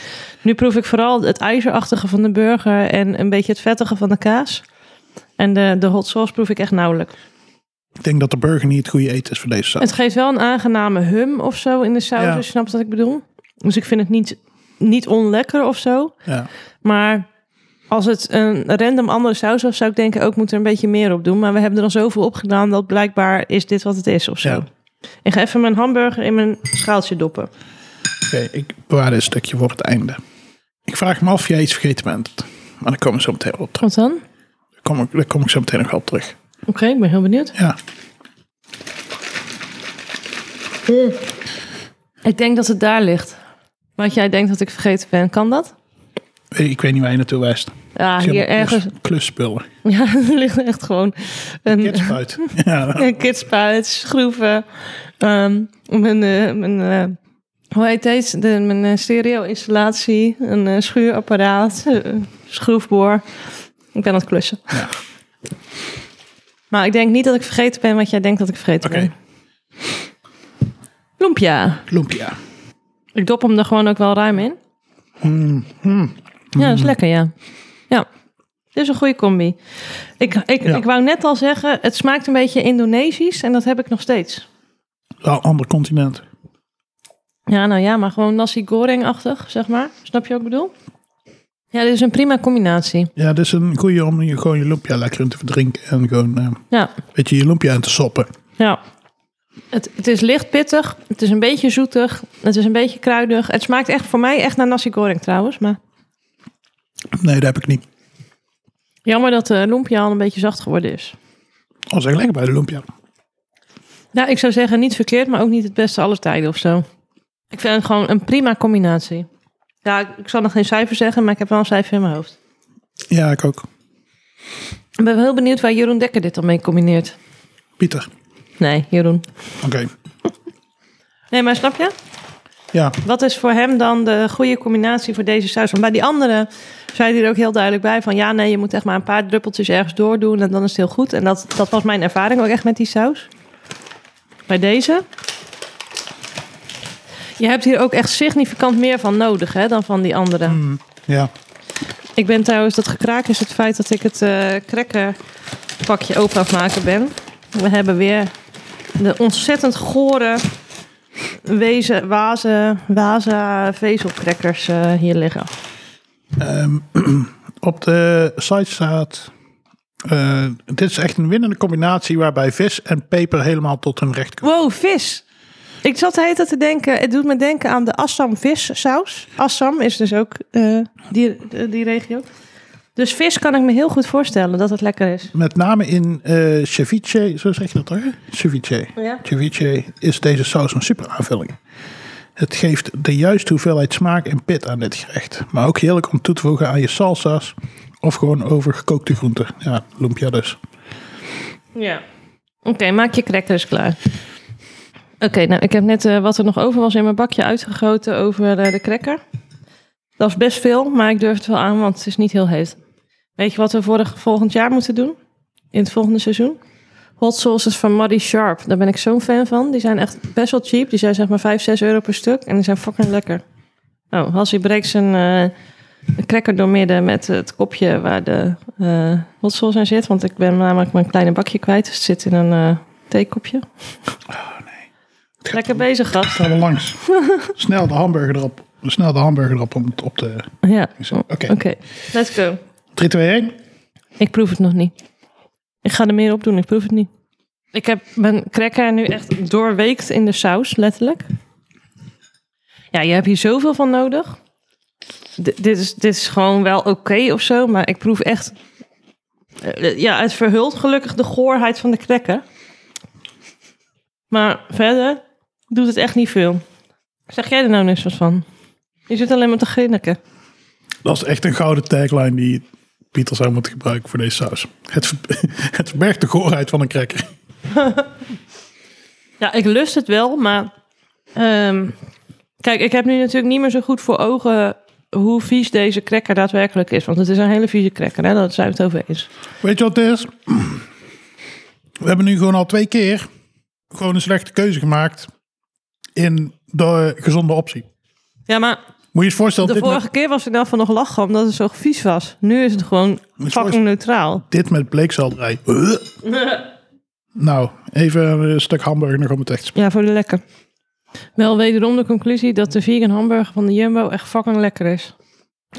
B: nu proef ik vooral het ijzerachtige van de burger en een beetje het vettige van de kaas. En de, de hot sauce proef ik echt nauwelijks.
C: ik denk dat de burger niet het goede eten is voor deze saus.
B: Het geeft wel een aangename hum of zo in de saus,
C: Ja.
B: als je snapt wat ik bedoel. Dus ik vind het niet, niet onlekker of zo.
C: Ja.
B: Maar als het een random andere saus was, zou ik denken, ook moet er een beetje meer op doen. Maar we hebben er al zoveel op gedaan dat blijkbaar is dit wat het is of zo.
C: Ja.
B: Ik ga even mijn hamburger in mijn schaaltje doppen.
C: Oké, ik bewaar dit stukje voor het einde. Ik vraag me af of jij iets vergeten bent. Maar daar komen we zo meteen op terug.
B: Wat dan? Oké,
C: Daar kom ik, daar kom ik zo meteen nog wel op terug.
B: ik ben heel benieuwd.
C: Ja,
B: Ik denk dat het daar ligt. Wat jij denkt dat ik vergeten ben, kan dat?
C: weet- ik weet niet waar je naartoe wijst.
B: Ja,
C: Ik heb
B: Ah, hier
C: een klus-
B: ergens.
C: Klusspullen.
B: Ja, er ligt echt gewoon een,
C: Kitspuit. ja,
B: een kidspuit, schroeven. ehm, mijn, eh, mijn eh, hoe heet deze? De, mijn eh, stereo-installatie, een eh, schuurapparaat, eh, schroefboor. Ik ben aan het klussen.
C: Ja.
B: Maar ik denk niet dat ik vergeten ben wat jij denkt dat ik vergeten
C: Oké.
B: ben. Lumpia.
C: lumpia.
B: Ik dop hem er gewoon ook wel ruim in. Ja, dat is lekker, ja. Ja, dit is een goede combi. Ik, ik,
C: Ja.
B: ik wou net al zeggen, het smaakt een beetje Indonesisch en dat heb ik nog steeds.
C: Wel een ander continent.
B: Ja, nou ja, maar gewoon nasi goreng-achtig, zeg maar. Snap je wat ik bedoel? Ja, dit is een prima combinatie.
C: Ja, dit is een goede om je gewoon je lumpia lekker in te verdrinken. En gewoon eh,
B: Ja,
C: een beetje je lumpia in te soppen.
B: ja. Het, het is licht pittig, het is een beetje zoetig, het is een beetje kruidig. Het smaakt echt voor mij echt naar nasi goreng trouwens, maar...
C: Nee, dat heb ik niet.
B: Jammer dat de lumpia al een beetje zacht geworden is.
C: Dat was echt Oh, lekker bij de lumpia.
B: Nou, ik zou zeggen niet verkeerd, maar ook niet het beste aller tijden of zo. Ik vind het gewoon een prima combinatie. Ja, ik- ik zal nog geen cijfer zeggen, maar ik heb wel een cijfer in mijn hoofd.
C: Ja, ik ook.
B: Ik ben wel heel benieuwd waar Jeroen Dekker dit dan mee combineert.
C: Pieter.
B: Nee, Jeroen.
C: Oké.
B: Nee, maar snap je?
C: Ja,
B: Wat is voor hem dan de goede combinatie voor deze saus? Want bij die andere zei hij er ook heel duidelijk bij van... ja, nee, je moet echt maar een paar druppeltjes ergens doordoen en dan is het heel goed. En dat, dat was mijn ervaring ook echt met die saus. Bij deze... Je hebt hier ook echt significant meer van nodig hè, dan van die andere.
C: ja.
B: Ik ben trouwens, dat gekraak is het feit dat ik het eh krekkenpakje open aan het maken ben. We hebben weer de ontzettend gore wezen, wazen, waza vezelcrackers eh, hier liggen.
C: Ehm, op de site staat... eh, dit is echt een winnende combinatie waarbij vis en peper helemaal tot hun recht komen.
B: Wow, vis! Ik zat de hele tijd te denken, het doet me denken aan de Assam vissaus. Assam is dus ook eh, die, eh, die regio. Dus vis kan ik me heel goed voorstellen dat het lekker is.
C: Met name in eh ceviche, zo zeg je dat toch? hè? Ceviche.
B: Ja.
C: Ceviche is deze saus een super aanvulling. Het geeft de juiste hoeveelheid smaak en pit aan dit gerecht. Maar ook heerlijk om toe te voegen aan je salsa's of gewoon over gekookte groenten. Ja, lumpia dus.
B: Ja. Oké, maak je crackers klaar. Oké, nou ik heb net eh, wat er nog over was in mijn bakje uitgegoten over eh, de cracker. Dat is best veel, maar ik durf het wel aan, want het is niet heel heet. Weet je wat we vorig, volgend jaar moeten doen? In het volgende seizoen? Hot sauces van Muddy Sharp. Daar ben ik zo'n fan van. Die zijn echt best wel cheap. Die zijn zeg maar 5, 6 euro per stuk. En die zijn fucking lekker. Oh, Hassie breekt zijn eh, cracker doormidden met het kopje waar de eh hot sauce in zit. Want ik ben namelijk mijn kleine bakje kwijt. Dus het zit in een eh, theekopje. Lekker bezig, gast.
C: Ga er langs. Snel de hamburger erop. Snel de hamburger erop om het op te...
B: Ja,
C: Oké.
B: oké. Let's go.
C: 3, 2, 1.
B: Ik proef het nog niet. Ik ga er meer op doen, ik proef het niet. Ik heb mijn cracker nu echt doorweekt in de saus, letterlijk. Ja, je hebt hier zoveel van nodig. D- dit, is, dit is gewoon wel oké of zo, maar ik proef echt... eh, Ja, het verhult gelukkig de goorheid van de cracker. Maar verder doet het echt niet veel. Zeg jij er nou niks wat van? Je zit alleen maar te grinniken.
C: Dat is echt een gouden tagline die Pieter zou moeten gebruiken voor deze saus. Het, ver- het verbergt de goorheid van een cracker.
B: Ja, ik lust het wel, maar. ehm, kijk, ik heb nu natuurlijk niet meer zo goed voor ogen hoe vies deze cracker daadwerkelijk is. Want het is een hele vieze cracker, hè? daar zijn we het over eens.
C: Weet je wat het is? We hebben nu gewoon al twee keer gewoon een slechte keuze gemaakt in de gezonde optie.
B: Ja, maar
C: Moet je je eens voorstellen,
B: de
C: dit
B: vorige
C: met,
B: keer was ik dan van nog lachen omdat het zo vies was. Nu is het gewoon
C: Moet je
B: fucking neutraal.
C: dit met bleekselderij. Huh? Nou, even een stuk hamburger nog om het echt te
B: Ja, voor de lekker. Wel wederom de conclusie dat de vegan hamburger van de Jumbo echt fucking lekker is.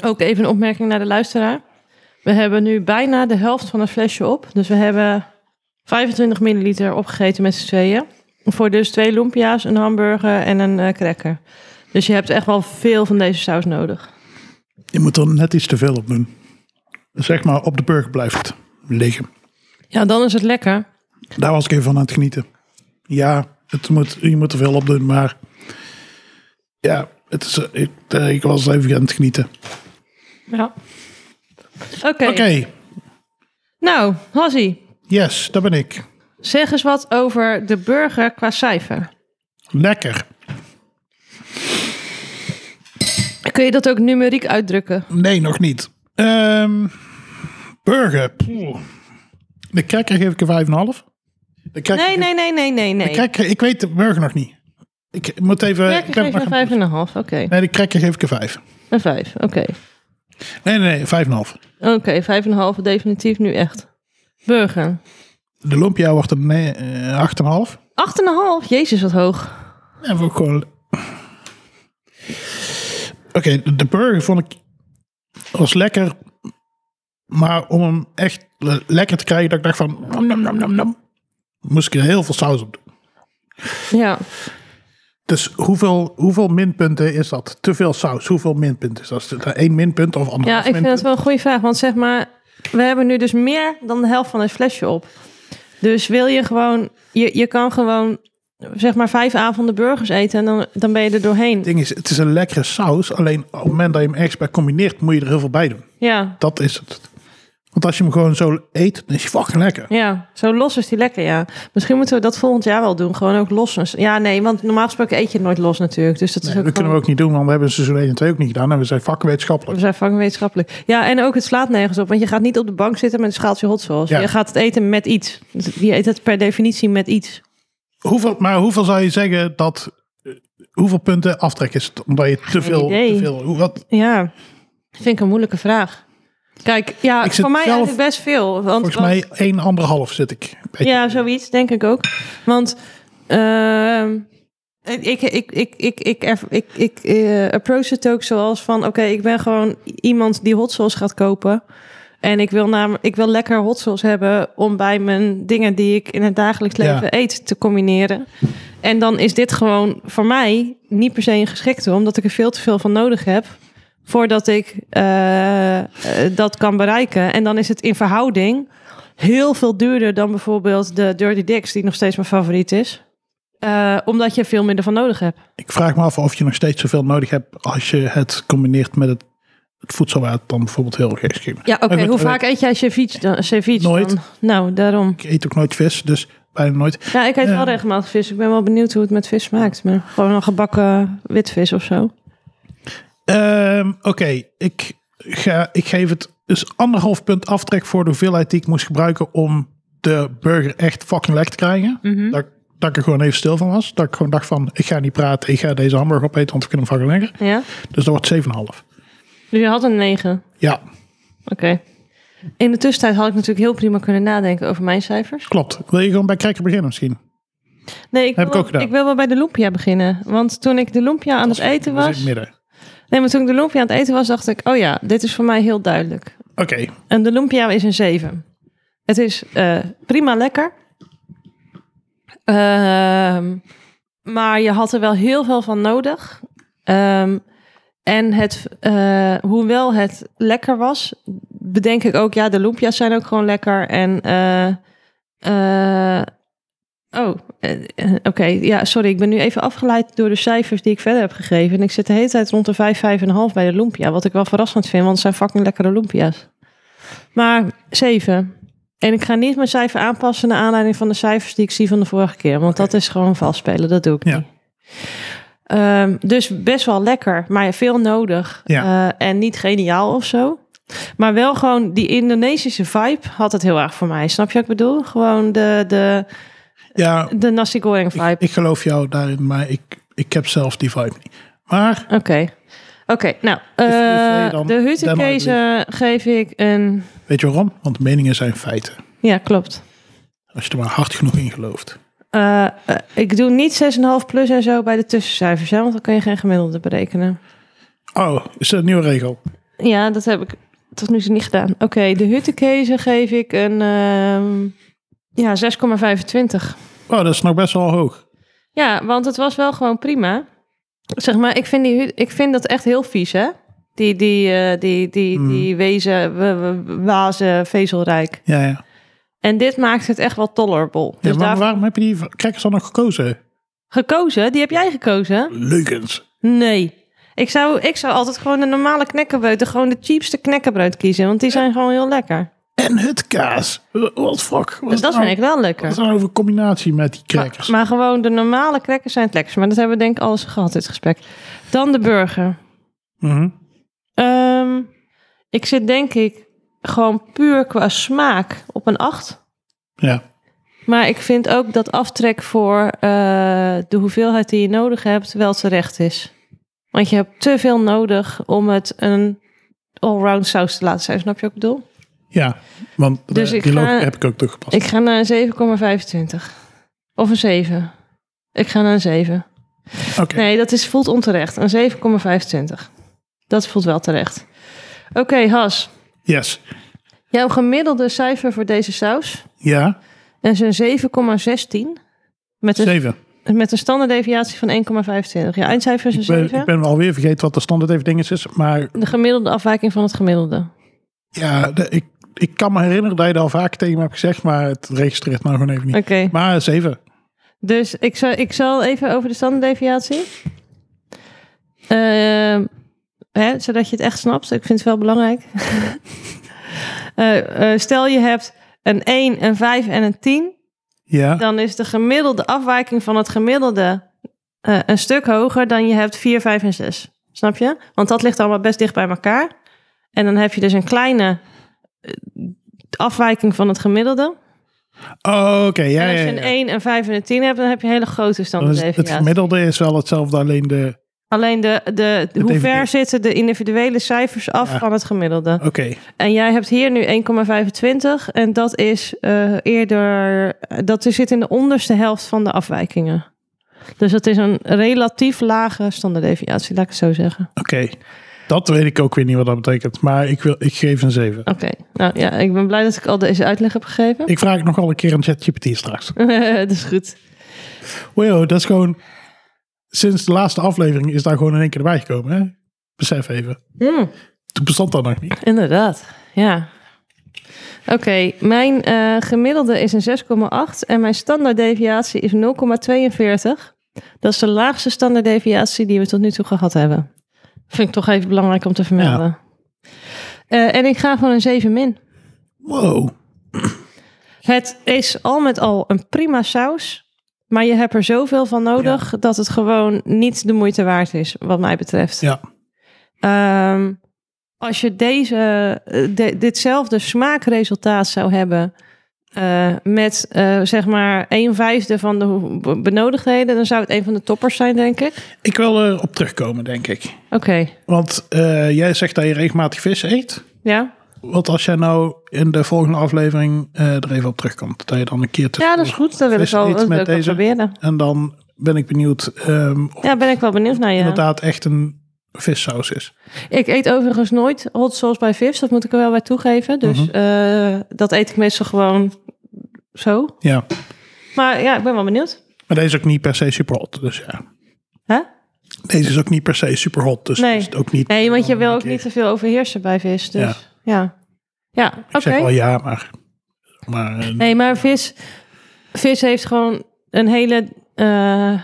B: Ook even een opmerking naar de luisteraar. We hebben nu bijna de helft van een flesje op. Dus we hebben 25 milliliter opgegeten met z'n tweeën. Voor dus twee lumpia's, een hamburger en een eh cracker. Dus je hebt echt wel veel van deze saus nodig.
C: Je moet er net iets te veel op doen. Zeg maar, op de burger blijft liggen.
B: Ja, dan is het lekker.
C: Daar was ik even van aan het genieten. Ja, het moet, je moet er veel op doen, maar... Ja, het is, eh, ik, eh, ik was even aan het genieten.
B: Ja. Oké.
C: Oké,
B: Nou, Hassie,
C: yes, daar ben ik.
B: zeg eens wat over de burger qua cijfer.
C: Lekker.
B: Kun je dat ook numeriek uitdrukken?
C: Nee, nog niet. Ehm, burger. Poeh. De cracker geef ik een 5,5. De cracker,
B: Nee, nee, nee, nee, nee, nee.
C: cracker- ik weet de burger nog niet. Ik moet even...
B: Werken
C: ik ben
B: geef
C: nog
B: je
C: aan-
B: vijf en een half. Oké,
C: Nee, de cracker geef ik een 5.
B: een vijf. Oké,
C: Nee, nee, nee, 5,5.
B: oké, vijf en een half definitief nu echt. Burger.
C: De lumpia wordt een nee, eh, 8,5.
B: Acht en een half. Jezus, wat hoog.
C: En ook gewoon... Oké, de- de burger vond ik... was lekker. Maar om hem echt le- lekker te krijgen, dat ik dacht van... Nom, nom, nom, nom, nom, moest ik er heel veel saus op doen.
B: Ja,
C: Dus hoeveel, hoeveel minpunten is dat? Te veel saus, hoeveel minpunten is dat? Is het nou één minpunt of
B: ja
C: anderhalf
B: ik vind
C: minpunt?
B: dat wel een goede vraag. Want zeg maar, we hebben nu dus meer dan de helft van het flesje op. Dus wil je gewoon, je, je kan gewoon zeg maar vijf avonden burgers eten en dan, dan ben je er doorheen.
C: Het ding is, het is een lekkere saus. Alleen op het moment dat je hem ergens bij combineert, moet je er heel veel bij doen.
B: Ja,
C: Dat is het. Want als je hem gewoon zo eet, dan is hij fucking lekker.
B: ja, zo los is die lekker, ja. Misschien moeten we dat volgend jaar wel doen. Gewoon ook los. Ja, nee, want normaal gesproken eet je het nooit los natuurlijk. Dus dat is
C: Nee,
B: ook
C: dat kunnen we
B: gewoon-
C: ook niet doen, want we hebben seizoen 1 en 2 ook niet gedaan. En we zijn vakwetenschappelijk.
B: We zijn fucking wetenschappelijk. Ja, en ook het slaat nergens op. Want je gaat niet op de bank zitten met een schaaltje hot sauce.
C: Ja.
B: Je gaat het eten met iets. Dus Je eet het per definitie met iets.
C: Hoeveel, maar hoeveel zou je zeggen dat... eh, Hoeveel punten aftrek is het? Omdat je te veel...
B: idee.
C: Te veel hoe- wat,
B: Ja, vind ik een moeilijke vraag. Kijk, ja,
C: Ik zit
B: voor mij
C: zelf-
B: eigenlijk best veel. Want,
C: volgens
B: want-
C: mij 1, anderhalf zit ik. Beetje.
B: Ja, zoiets, denk ik ook. Want ehm, ik, ik, ik, ik, ik, erv- ik, ik, eh, approach het ook zoals van... oké, ik ben gewoon iemand die hot sauce gaat kopen... En ik wil, nam, ik wil lekker hot sauce hebben om bij mijn dingen die ik in het dagelijks leven
C: Ja.
B: eet te combineren. En dan is dit gewoon voor mij niet per se een geschikte, omdat ik er veel te veel van nodig heb. voordat ik eh, eh, dat kan bereiken. En dan is het in verhouding heel veel duurder dan bijvoorbeeld de Dirty Dicks, die nog steeds mijn favoriet is. Eh, omdat je veel minder van nodig hebt.
C: Ik vraag me af of je nog steeds zoveel nodig hebt als je het combineert met het, het voedsel waar het dan bijvoorbeeld heel erg is. Ik
B: Ja, oké.
C: Maar ik-
B: Hoe vaak eet jij ceviche dan? Ceviche
C: Nooit.
B: dan? Nou, daarom.
C: eet ook nooit vis, dus bijna nooit.
B: Ja, ik eet
C: Ja.
B: wel regelmatig vis. Ik ben wel benieuwd hoe het met vis smaakt. Maar gewoon een gebakken witvis of zo.
C: Ehm, Oké, ik, ga, ik geef het dus anderhalf punt aftrek voor de hoeveelheid die ik moest gebruiken om de burger echt fucking lek te krijgen.
B: Mhm.
C: dat, ik- dat ik er gewoon even stil van was. Dat ik gewoon dacht van, ik ga niet praten, ik ga deze hamburger opeten, want we kunnen hem fucking lekker.
B: Ja?
C: Dus dat wordt 7,5.
B: Dus je had een 9.
C: Ja,
B: Oké. In de tussentijd had ik natuurlijk heel prima kunnen nadenken over mijn cijfers.
C: klopt. Wil je gewoon bij cracker beginnen misschien?
B: Nee, ik,
C: Heb
B: wil,
C: ik ook gedaan.
B: ik wil wel bij de lumpia beginnen. Want toen ik de lumpia aan het eten
C: We zitten
B: was...
C: midden.
B: Nee, maar toen ik de lumpia aan het eten was, dacht ik... Oh ja, dit is voor mij heel duidelijk.
C: Oké,
B: En de lumpia is een 7. Het is eh, prima lekker. Ehm, maar je had er wel heel veel van nodig. Ehm, en het, eh, hoewel het lekker was, bedenk ik ook, ja, de lumpia's zijn ook gewoon lekker. En, eh, eh, oh, eh, eh, oké, ja, sorry, ik ben nu even afgeleid door de cijfers die ik verder heb gegeven. En ik zit de hele tijd rond de 5, 5,5 bij de lumpia, wat ik wel verrassend vind, want het zijn fucking lekkere lumpia's. Maar 7. En ik ga niet mijn cijfer aanpassen naar aanleiding van de cijfers die ik zie van de vorige keer. Want dat is gewoon vastspelen, dat doe ik
C: Ja.
B: niet. Ehm, dus best wel lekker, maar veel nodig.
C: Ja.
B: Eh, en niet geniaal of zo. Maar wel gewoon die Indonesische vibe had het heel erg voor mij. Snap je wat ik bedoel? Gewoon de, de,
C: ja,
B: de nasi goreng vibe.
C: ik geloof jou daarin, maar ik, ik heb zelf die vibe niet. Maar
B: Oké. Oké, nou.
C: Dus die
B: eh,
C: twee dan,
B: de
C: dan maar
B: huttenkezen geef ik een...
C: weet je waarom? Want meningen zijn feiten.
B: Ja, klopt.
C: Als je er maar hard genoeg in gelooft.
B: Eh, eh, ik doe niet 6,5 plus en zo bij de tussencijfers, hè, want dan kun je geen gemiddelde berekenen.
C: Oh, is dat een nieuwe regel?
B: Ja, dat heb ik tot nu toe niet gedaan. Oké, de huttenkezen geef ik een ehm, ja, 6,25.
C: Oh, dat is nog best wel hoog.
B: Ja, want het was wel gewoon prima. Zeg maar, ik vind, die, hu- ik vind dat echt heel vies, hè? Die, die, eh, die, die,
C: Mm.
B: die wezen, w- w- wazen, vezelrijk.
C: Ja, ja. En
B: En dit maakt het echt wel tolerable. Dus
C: maar
B: daar
C: waarom heb je die crackers dan nog gekozen?
B: gekozen, die heb jij gekozen.
C: Leugens.
B: Nee. Ik zou, ik zou altijd gewoon de normale knekkenbreud, de- gewoon de cheapste knekkenbreud kiezen, want die zijn gewoon heel lekker.
C: En het kaas. Wat fuck.
B: Dus dat vind ik wel lekker.
C: Wat is nou over combinatie met die
B: Maar,
C: crackers?
B: maar gewoon de normale crackers zijn het lekkerst. Maar dat hebben we denk ik alles gehad, dit gesprek. Dan de burger.
C: Mhm.
B: Ehm, ik zit denk ik gewoon puur qua smaak op een 8.
C: Ja.
B: Maar ik vind ook dat aftrek voor eh, de hoeveelheid die je nodig hebt wel terecht is. Want je hebt te veel nodig om het een allround saus te laten zijn. Snap je wat ik bedoel?
C: Ja, want de-
B: Dus ik
C: die
B: ga-
C: logica heb ik ook toegepast.
B: Ik ga naar een 7,25. Of een 7. Ik ga naar een 7.
C: Oké.
B: Nee, dat is, voelt onterecht. Een 7,25. Dat voelt wel terecht. Oké, Has.
C: Yes.
B: Jouw gemiddelde cijfer voor deze saus
C: Ja,
B: is een 7,16. Met een,
C: zeven.
B: met een standaarddeviatie van 1,25. Je eindcijfer is een
C: Ik ben,
B: 7.
C: ik ben alweer vergeten wat de standaard even dinges is. Maar
B: De gemiddelde afwijking van het gemiddelde.
C: ja, de- ik, ik kan me herinneren dat je dat al vaak tegen me hebt gezegd. Maar het registreert nou gewoon even niet.
B: Oké,
C: Maar zeven.
B: dus ik zal, ik zal even over de standaarddeviatie. Ehm, hè, zodat je het echt snapt. Ik vind het wel belangrijk. Eh, eh, stel je hebt een 1, een 5 en een 10.
C: Ja.
B: dan is de gemiddelde afwijking van het gemiddelde eh, een stuk hoger dan je hebt 4, 5 en 6. Snap je? Want dat ligt allemaal best dicht bij elkaar. En dan heb je dus een kleine eh, afwijking van het gemiddelde.
C: Oh, oké. Ja,
B: en als
C: ja,
B: je
C: ja,
B: een
C: ja.
B: 1, een 5 en een 10 hebt, dan heb je een hele grote
C: Dan is het- het
B: standaarddeviatie.
C: gemiddelde is wel hetzelfde, alleen de...
B: Alleen de, de, de- hoe
C: even
B: ver
C: dit.
B: zitten de individuele cijfers af
C: Ja.
B: van het gemiddelde?
C: Oké,
B: En jij hebt hier nu 1,25 en dat is eh, eerder, dat er zit in de onderste helft van de afwijkingen. Dus dat is een relatief lage standaarddeviatie, laat ik het zo zeggen.
C: oké. Dat weet ik ook weer niet wat dat betekent. Maar ik, wil, ik geef een zeven.
B: Oké, nou ja, ik ben blij dat ik al deze uitleg heb gegeven.
C: Ik vraag het nog wel een keer aan ChatGPT straks.
B: dat is goed.
C: Wow, dat is gewoon... Sinds de laatste aflevering is daar gewoon in één keer erbij gekomen, hè? Besef even.
B: Hmm.
C: Toen bestond dat nog niet.
B: Inderdaad, ja. Oké, mijn eh, gemiddelde is een 6,8 en mijn standaarddeviatie is 0,42. Dat is de laagste standaarddeviatie die we tot nu toe gehad hebben. Vind ik toch even belangrijk om te vermelden. Eh, en ik ga van een 7 min.
C: Wow.
B: Het is al met al een prima saus, maar je hebt er zoveel van nodig dat het gewoon niet de moeite waard is, wat mij betreft.
C: Ja.
B: Ehm, als je deze, eh, de- ditzelfde smaakresultaat zou hebben eh, met eh, zeg maar een vijfde van de ho- benodigdheden, dan zou het een van de toppers zijn, denk ik.
C: Ik wil erop terugkomen, denk ik.
B: Oké,
C: Want eh, jij zegt dat je regelmatig vis eet.
B: ja.
C: Wat als jij nou in de volgende aflevering eh, er even op terugkomt? Dat je dan een keer te
B: ja, dat is goed. Dat wil ik
C: Vis
B: wel,
C: iets
B: dat wil
C: met
B: ik wel
C: deze?
B: proberen.
C: En dan ben ik benieuwd ehm, of het
B: Ja, ben ik wel benieuwd naar je.
C: inderdaad echt een vissaus is.
B: Ik eet overigens nooit hot sauce bij vis, dat moet ik er wel bij toegeven. Dus
C: Mhm.
B: eh, dat eet ik meestal gewoon zo.
C: Ja.
B: Maar ja, ik ben wel benieuwd.
C: Maar deze is ook niet per se super hot. Dus ja.
B: Hè?
C: Deze is ook niet per se super hot. Dus
B: Nee.
C: is het ook niet.
B: Nee, want je
C: dan
B: wil
C: een
B: ook
C: keer-
B: niet te veel overheersen bij vis. Dus ja. Ja,
C: Ik
B: oké.
C: zeg wel ja, maar. maar eh,
B: Nee, maar vis, vis heeft gewoon een hele. eh,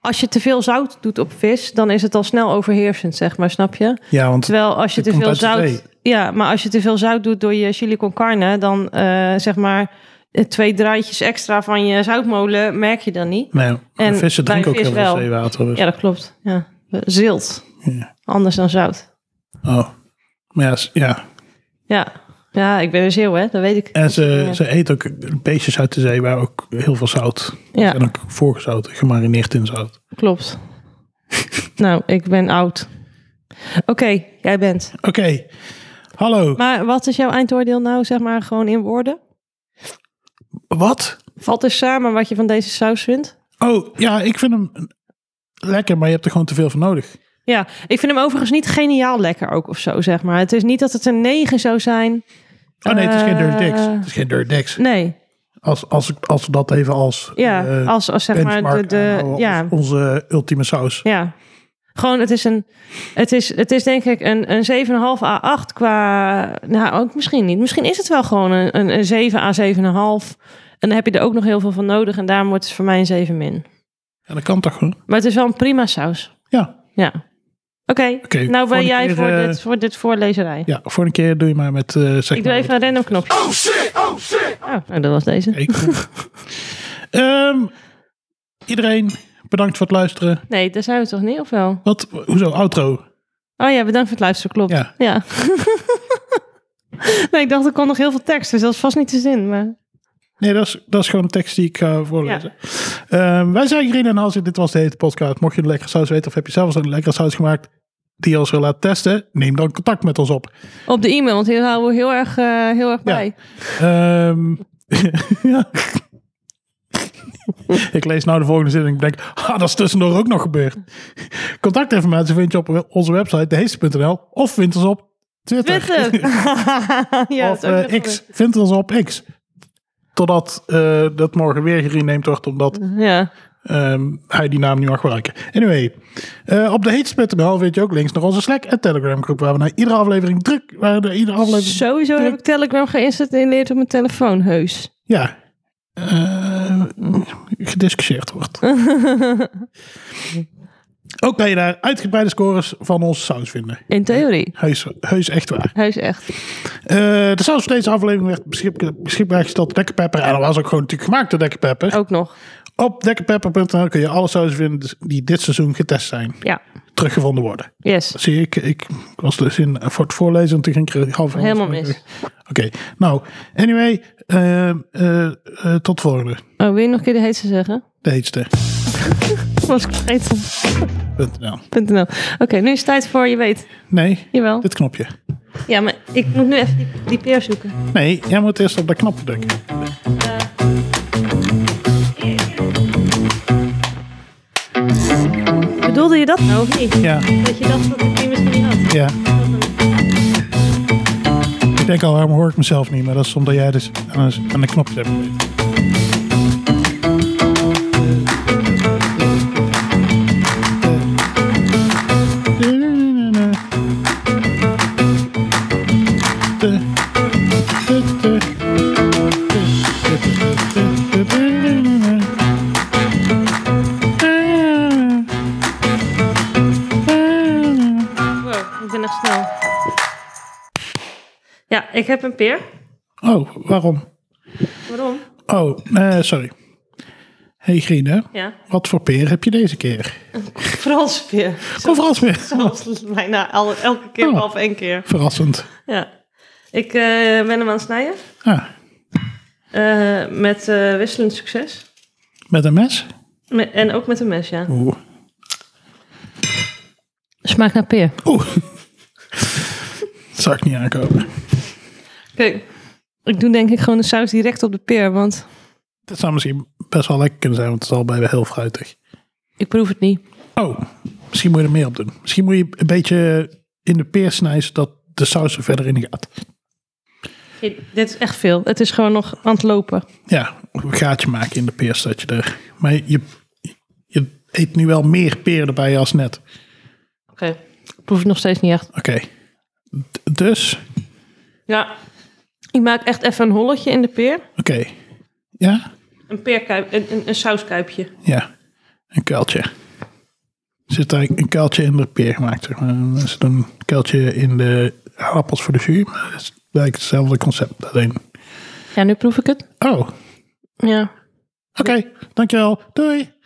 B: als je te veel zout doet op vis, dan is het al snel overheersend, zeg maar, snap je?
C: Ja, want
B: Terwijl als je
C: Het
B: te veel
C: komt uit de
B: zout. Ja, maar als je te veel zout doet door je chili con carne, dan eh, zeg maar eh, twee draadjes extra van je zoutmolen merk je dan niet.
C: nee,
B: en
C: vissen
B: bij
C: drinken ook
B: vis
C: heel veel
B: wel.
C: zeewater. Dus.
B: Ja, dat klopt. Ja. Zilt.
C: Ja.
B: Anders dan zout.
C: Oh. Maar ja, s- ja.
B: Ja. Ja, ik ben een zeeuw, hè? Dat weet ik.
C: En ze,
B: Ja.
C: ze eet ook beestjes uit de zee waar ook heel veel zout.
B: Ja.
C: En ook voorgezouten, gemarineerd in zout.
B: Klopt. nou, ik ben oud. Oké, jij bent.
C: Oké. Hallo.
B: Maar wat is jouw eindoordeel nou, zeg maar, gewoon in woorden?
C: Wat?
B: Valt dus samen wat je van deze saus vindt?
C: Oh, ja, ik vind hem lekker, maar je hebt er gewoon te veel van nodig.
B: Ja, ik vind hem overigens niet geniaal lekker ook of zo, zeg maar. Het is niet dat het een 9 zou zijn.
C: Oh nee, het is geen Dirty Dicks.
B: Eh,
C: Het is geen Dirty Dicks.
B: Nee,
C: Als, als, ik- als we dat even als
B: ja,
C: eh,
B: als, als zeg maar de...
C: benchmark eh,
B: de
C: aanhouden,
B: ja,
C: als onze ultieme saus.
B: ja. Gewoon, het is een... Het is, het is denk ik een, een 7,5 A8 qua... Nou, ook misschien niet. Misschien is het wel gewoon een, een, een 7 A 7,5. En dan heb je er ook nog heel veel van nodig. En daarom wordt het voor mij een 7 min.
C: Ja, dat kan toch? hè?
B: Maar het is wel een prima saus.
C: Ja.
B: Ja. Oké,
C: Oké,
B: nou ben
C: volgende
B: jij
C: keer,
B: voor,
C: eh,
B: dit, voor dit voorlezerij.
C: Ja, voor een keer doe je maar met... eh, zeg
B: Ik doe
C: maar
B: even een random knopje. Oh shit, oh shit. nou, dat was deze.
C: Ik- Ehm, iedereen, bedankt voor het luisteren.
B: Nee, daar zijn we toch niet, of wel?
C: Wat? Hoezo? Outro?
B: Oh ja, bedankt voor het luisteren, klopt.
C: Ja.
B: nee, ik dacht er kon nog heel veel tekst, dus dat is vast niet de zin. Maar...
C: Nee, dat is, dat is gewoon een tekst die ik ga voorlezen. Ehm, wij zijn Green en Hansen. Dit was de Hete Podcast. Mocht je een lekkere saus weten of heb je zelfs een lekkere saus gemaakt die je ons wil laten testen, neem dan contact met ons op.
B: Op de e-mail, want hier houden we heel erg, eh, heel erg bij.
C: Ehm, ja. ik lees nou de volgende zin en ik denk, ah, dat is tussendoor ook nog gebeurd. Contactinformatie vind je op onze website deheeste.nl of vind ons op Twitter.
B: Twitter. ja,
C: of
B: dat is ook
C: eh,
B: nog wel
C: X. Vind ons op X. Totdat eh, dat morgen weer gerenamed wordt, omdat
B: leuk. Ja.
C: ehm, hij die naam niet mag gebruiken. Anyway, eh, op de heetspit.nl vind je ook links naar onze Slack en Telegram groep, waar we naar iedere aflevering druk, waar we iedere aflevering...
B: Sowieso heb ik Telegram geïnstalleerd op mijn telefoon, heus.
C: Ja. eh, gediscussieerd wordt. Ook kan je daar uitgebreide scores van onze saus vinden.
B: In theorie.
C: Heus, heus echt waar.
B: Heus echt.
C: Eh, de saus voor deze aflevering werd beschik- beschikbaar gesteld door Dekker Pepper. En dat was ook gewoon natuurlijk gemaakt door Dekker Pepper.
B: Ook nog.
C: Op dekkerpepper.nl kun je alle sausen vinden die dit seizoen getest zijn.
B: Ja.
C: Teruggevonden worden.
B: Yes.
C: Zie je, ik, ik was dus in voor het voorlezen en toen ging ik er half
B: Helemaal mis.
C: Oké, nou, anyway, eh, eh, eh, tot de volgende.
B: Oh, wil je nog een keer de heetste zeggen?
C: De heetste.
B: Was ik vergeten.
C: .nl.
B: .nl. Oké, nu is het tijd voor je weet.
C: Nee,
B: Jawel.
C: dit knopje.
B: Ja, maar ik moet nu even die, die peer zoeken.
C: Nee, jij moet eerst op dat knopje drukken.
B: Bedoelde je dat nou of niet?
C: Ja,
B: Dat je dacht dat ik die misschien niet had.
C: ja. Ik denk al, waarom hoor ik mezelf niet? Maar dat is omdat jij dus aan een, aan een knopje hebt. gezeten.
B: Ik ben echt snel. Ja, ik heb een peer.
C: Oh, waarom?
B: Waarom?
C: Oh, eh, sorry. Hey Grine,
B: Ja,
C: wat voor peer heb je deze keer?
B: Franse peer.
C: Overal weer.
B: Zoals bijna al- elke keer,
C: Oh.
B: behalve één keer.
C: Verrassend.
B: Ja. Ik eh, ben hem aan het snijden.
C: Ah,
B: Eh, met eh, wisselend succes.
C: met een mes?
B: Me- en ook met een mes, ja.
C: Oeh.
B: Smaakt naar peer.
C: Oeh. Dat zou ik niet aankomen.
B: Kijk, ik doe denk ik gewoon de saus direct op de peer, want
C: Dat zou misschien best wel lekker kunnen zijn, want het is al bij heel fruitig.
B: ik proef het niet.
C: Oh, misschien moet je er meer op doen. Misschien moet je een beetje in de peer snijden, zodat de saus er verder in gaat.
B: dit is echt veel. Het is gewoon nog aan het lopen.
C: Ja, een gaatje maken in de peers, dat je er... Maar je, je eet nu wel meer peer erbij als net.
B: Oké. Ik proef het nog steeds niet echt.
C: Oké. D- Dus,
B: Ja. Ik maak echt even een holletje in de peer.
C: oké. Ja?
B: Een peerkuip, een, een, een sauskuipje.
C: Ja. Een kuiltje. Er zit daar een kuiltje in de peer gemaakt. Zeg maar. Er zit een kuiltje in de appels voor de jus. maar Het is eigenlijk hetzelfde concept. Alleen...
B: Ja, nu proef ik het.
C: Oh, oké.
B: Ja.
C: Dankjewel. Doei.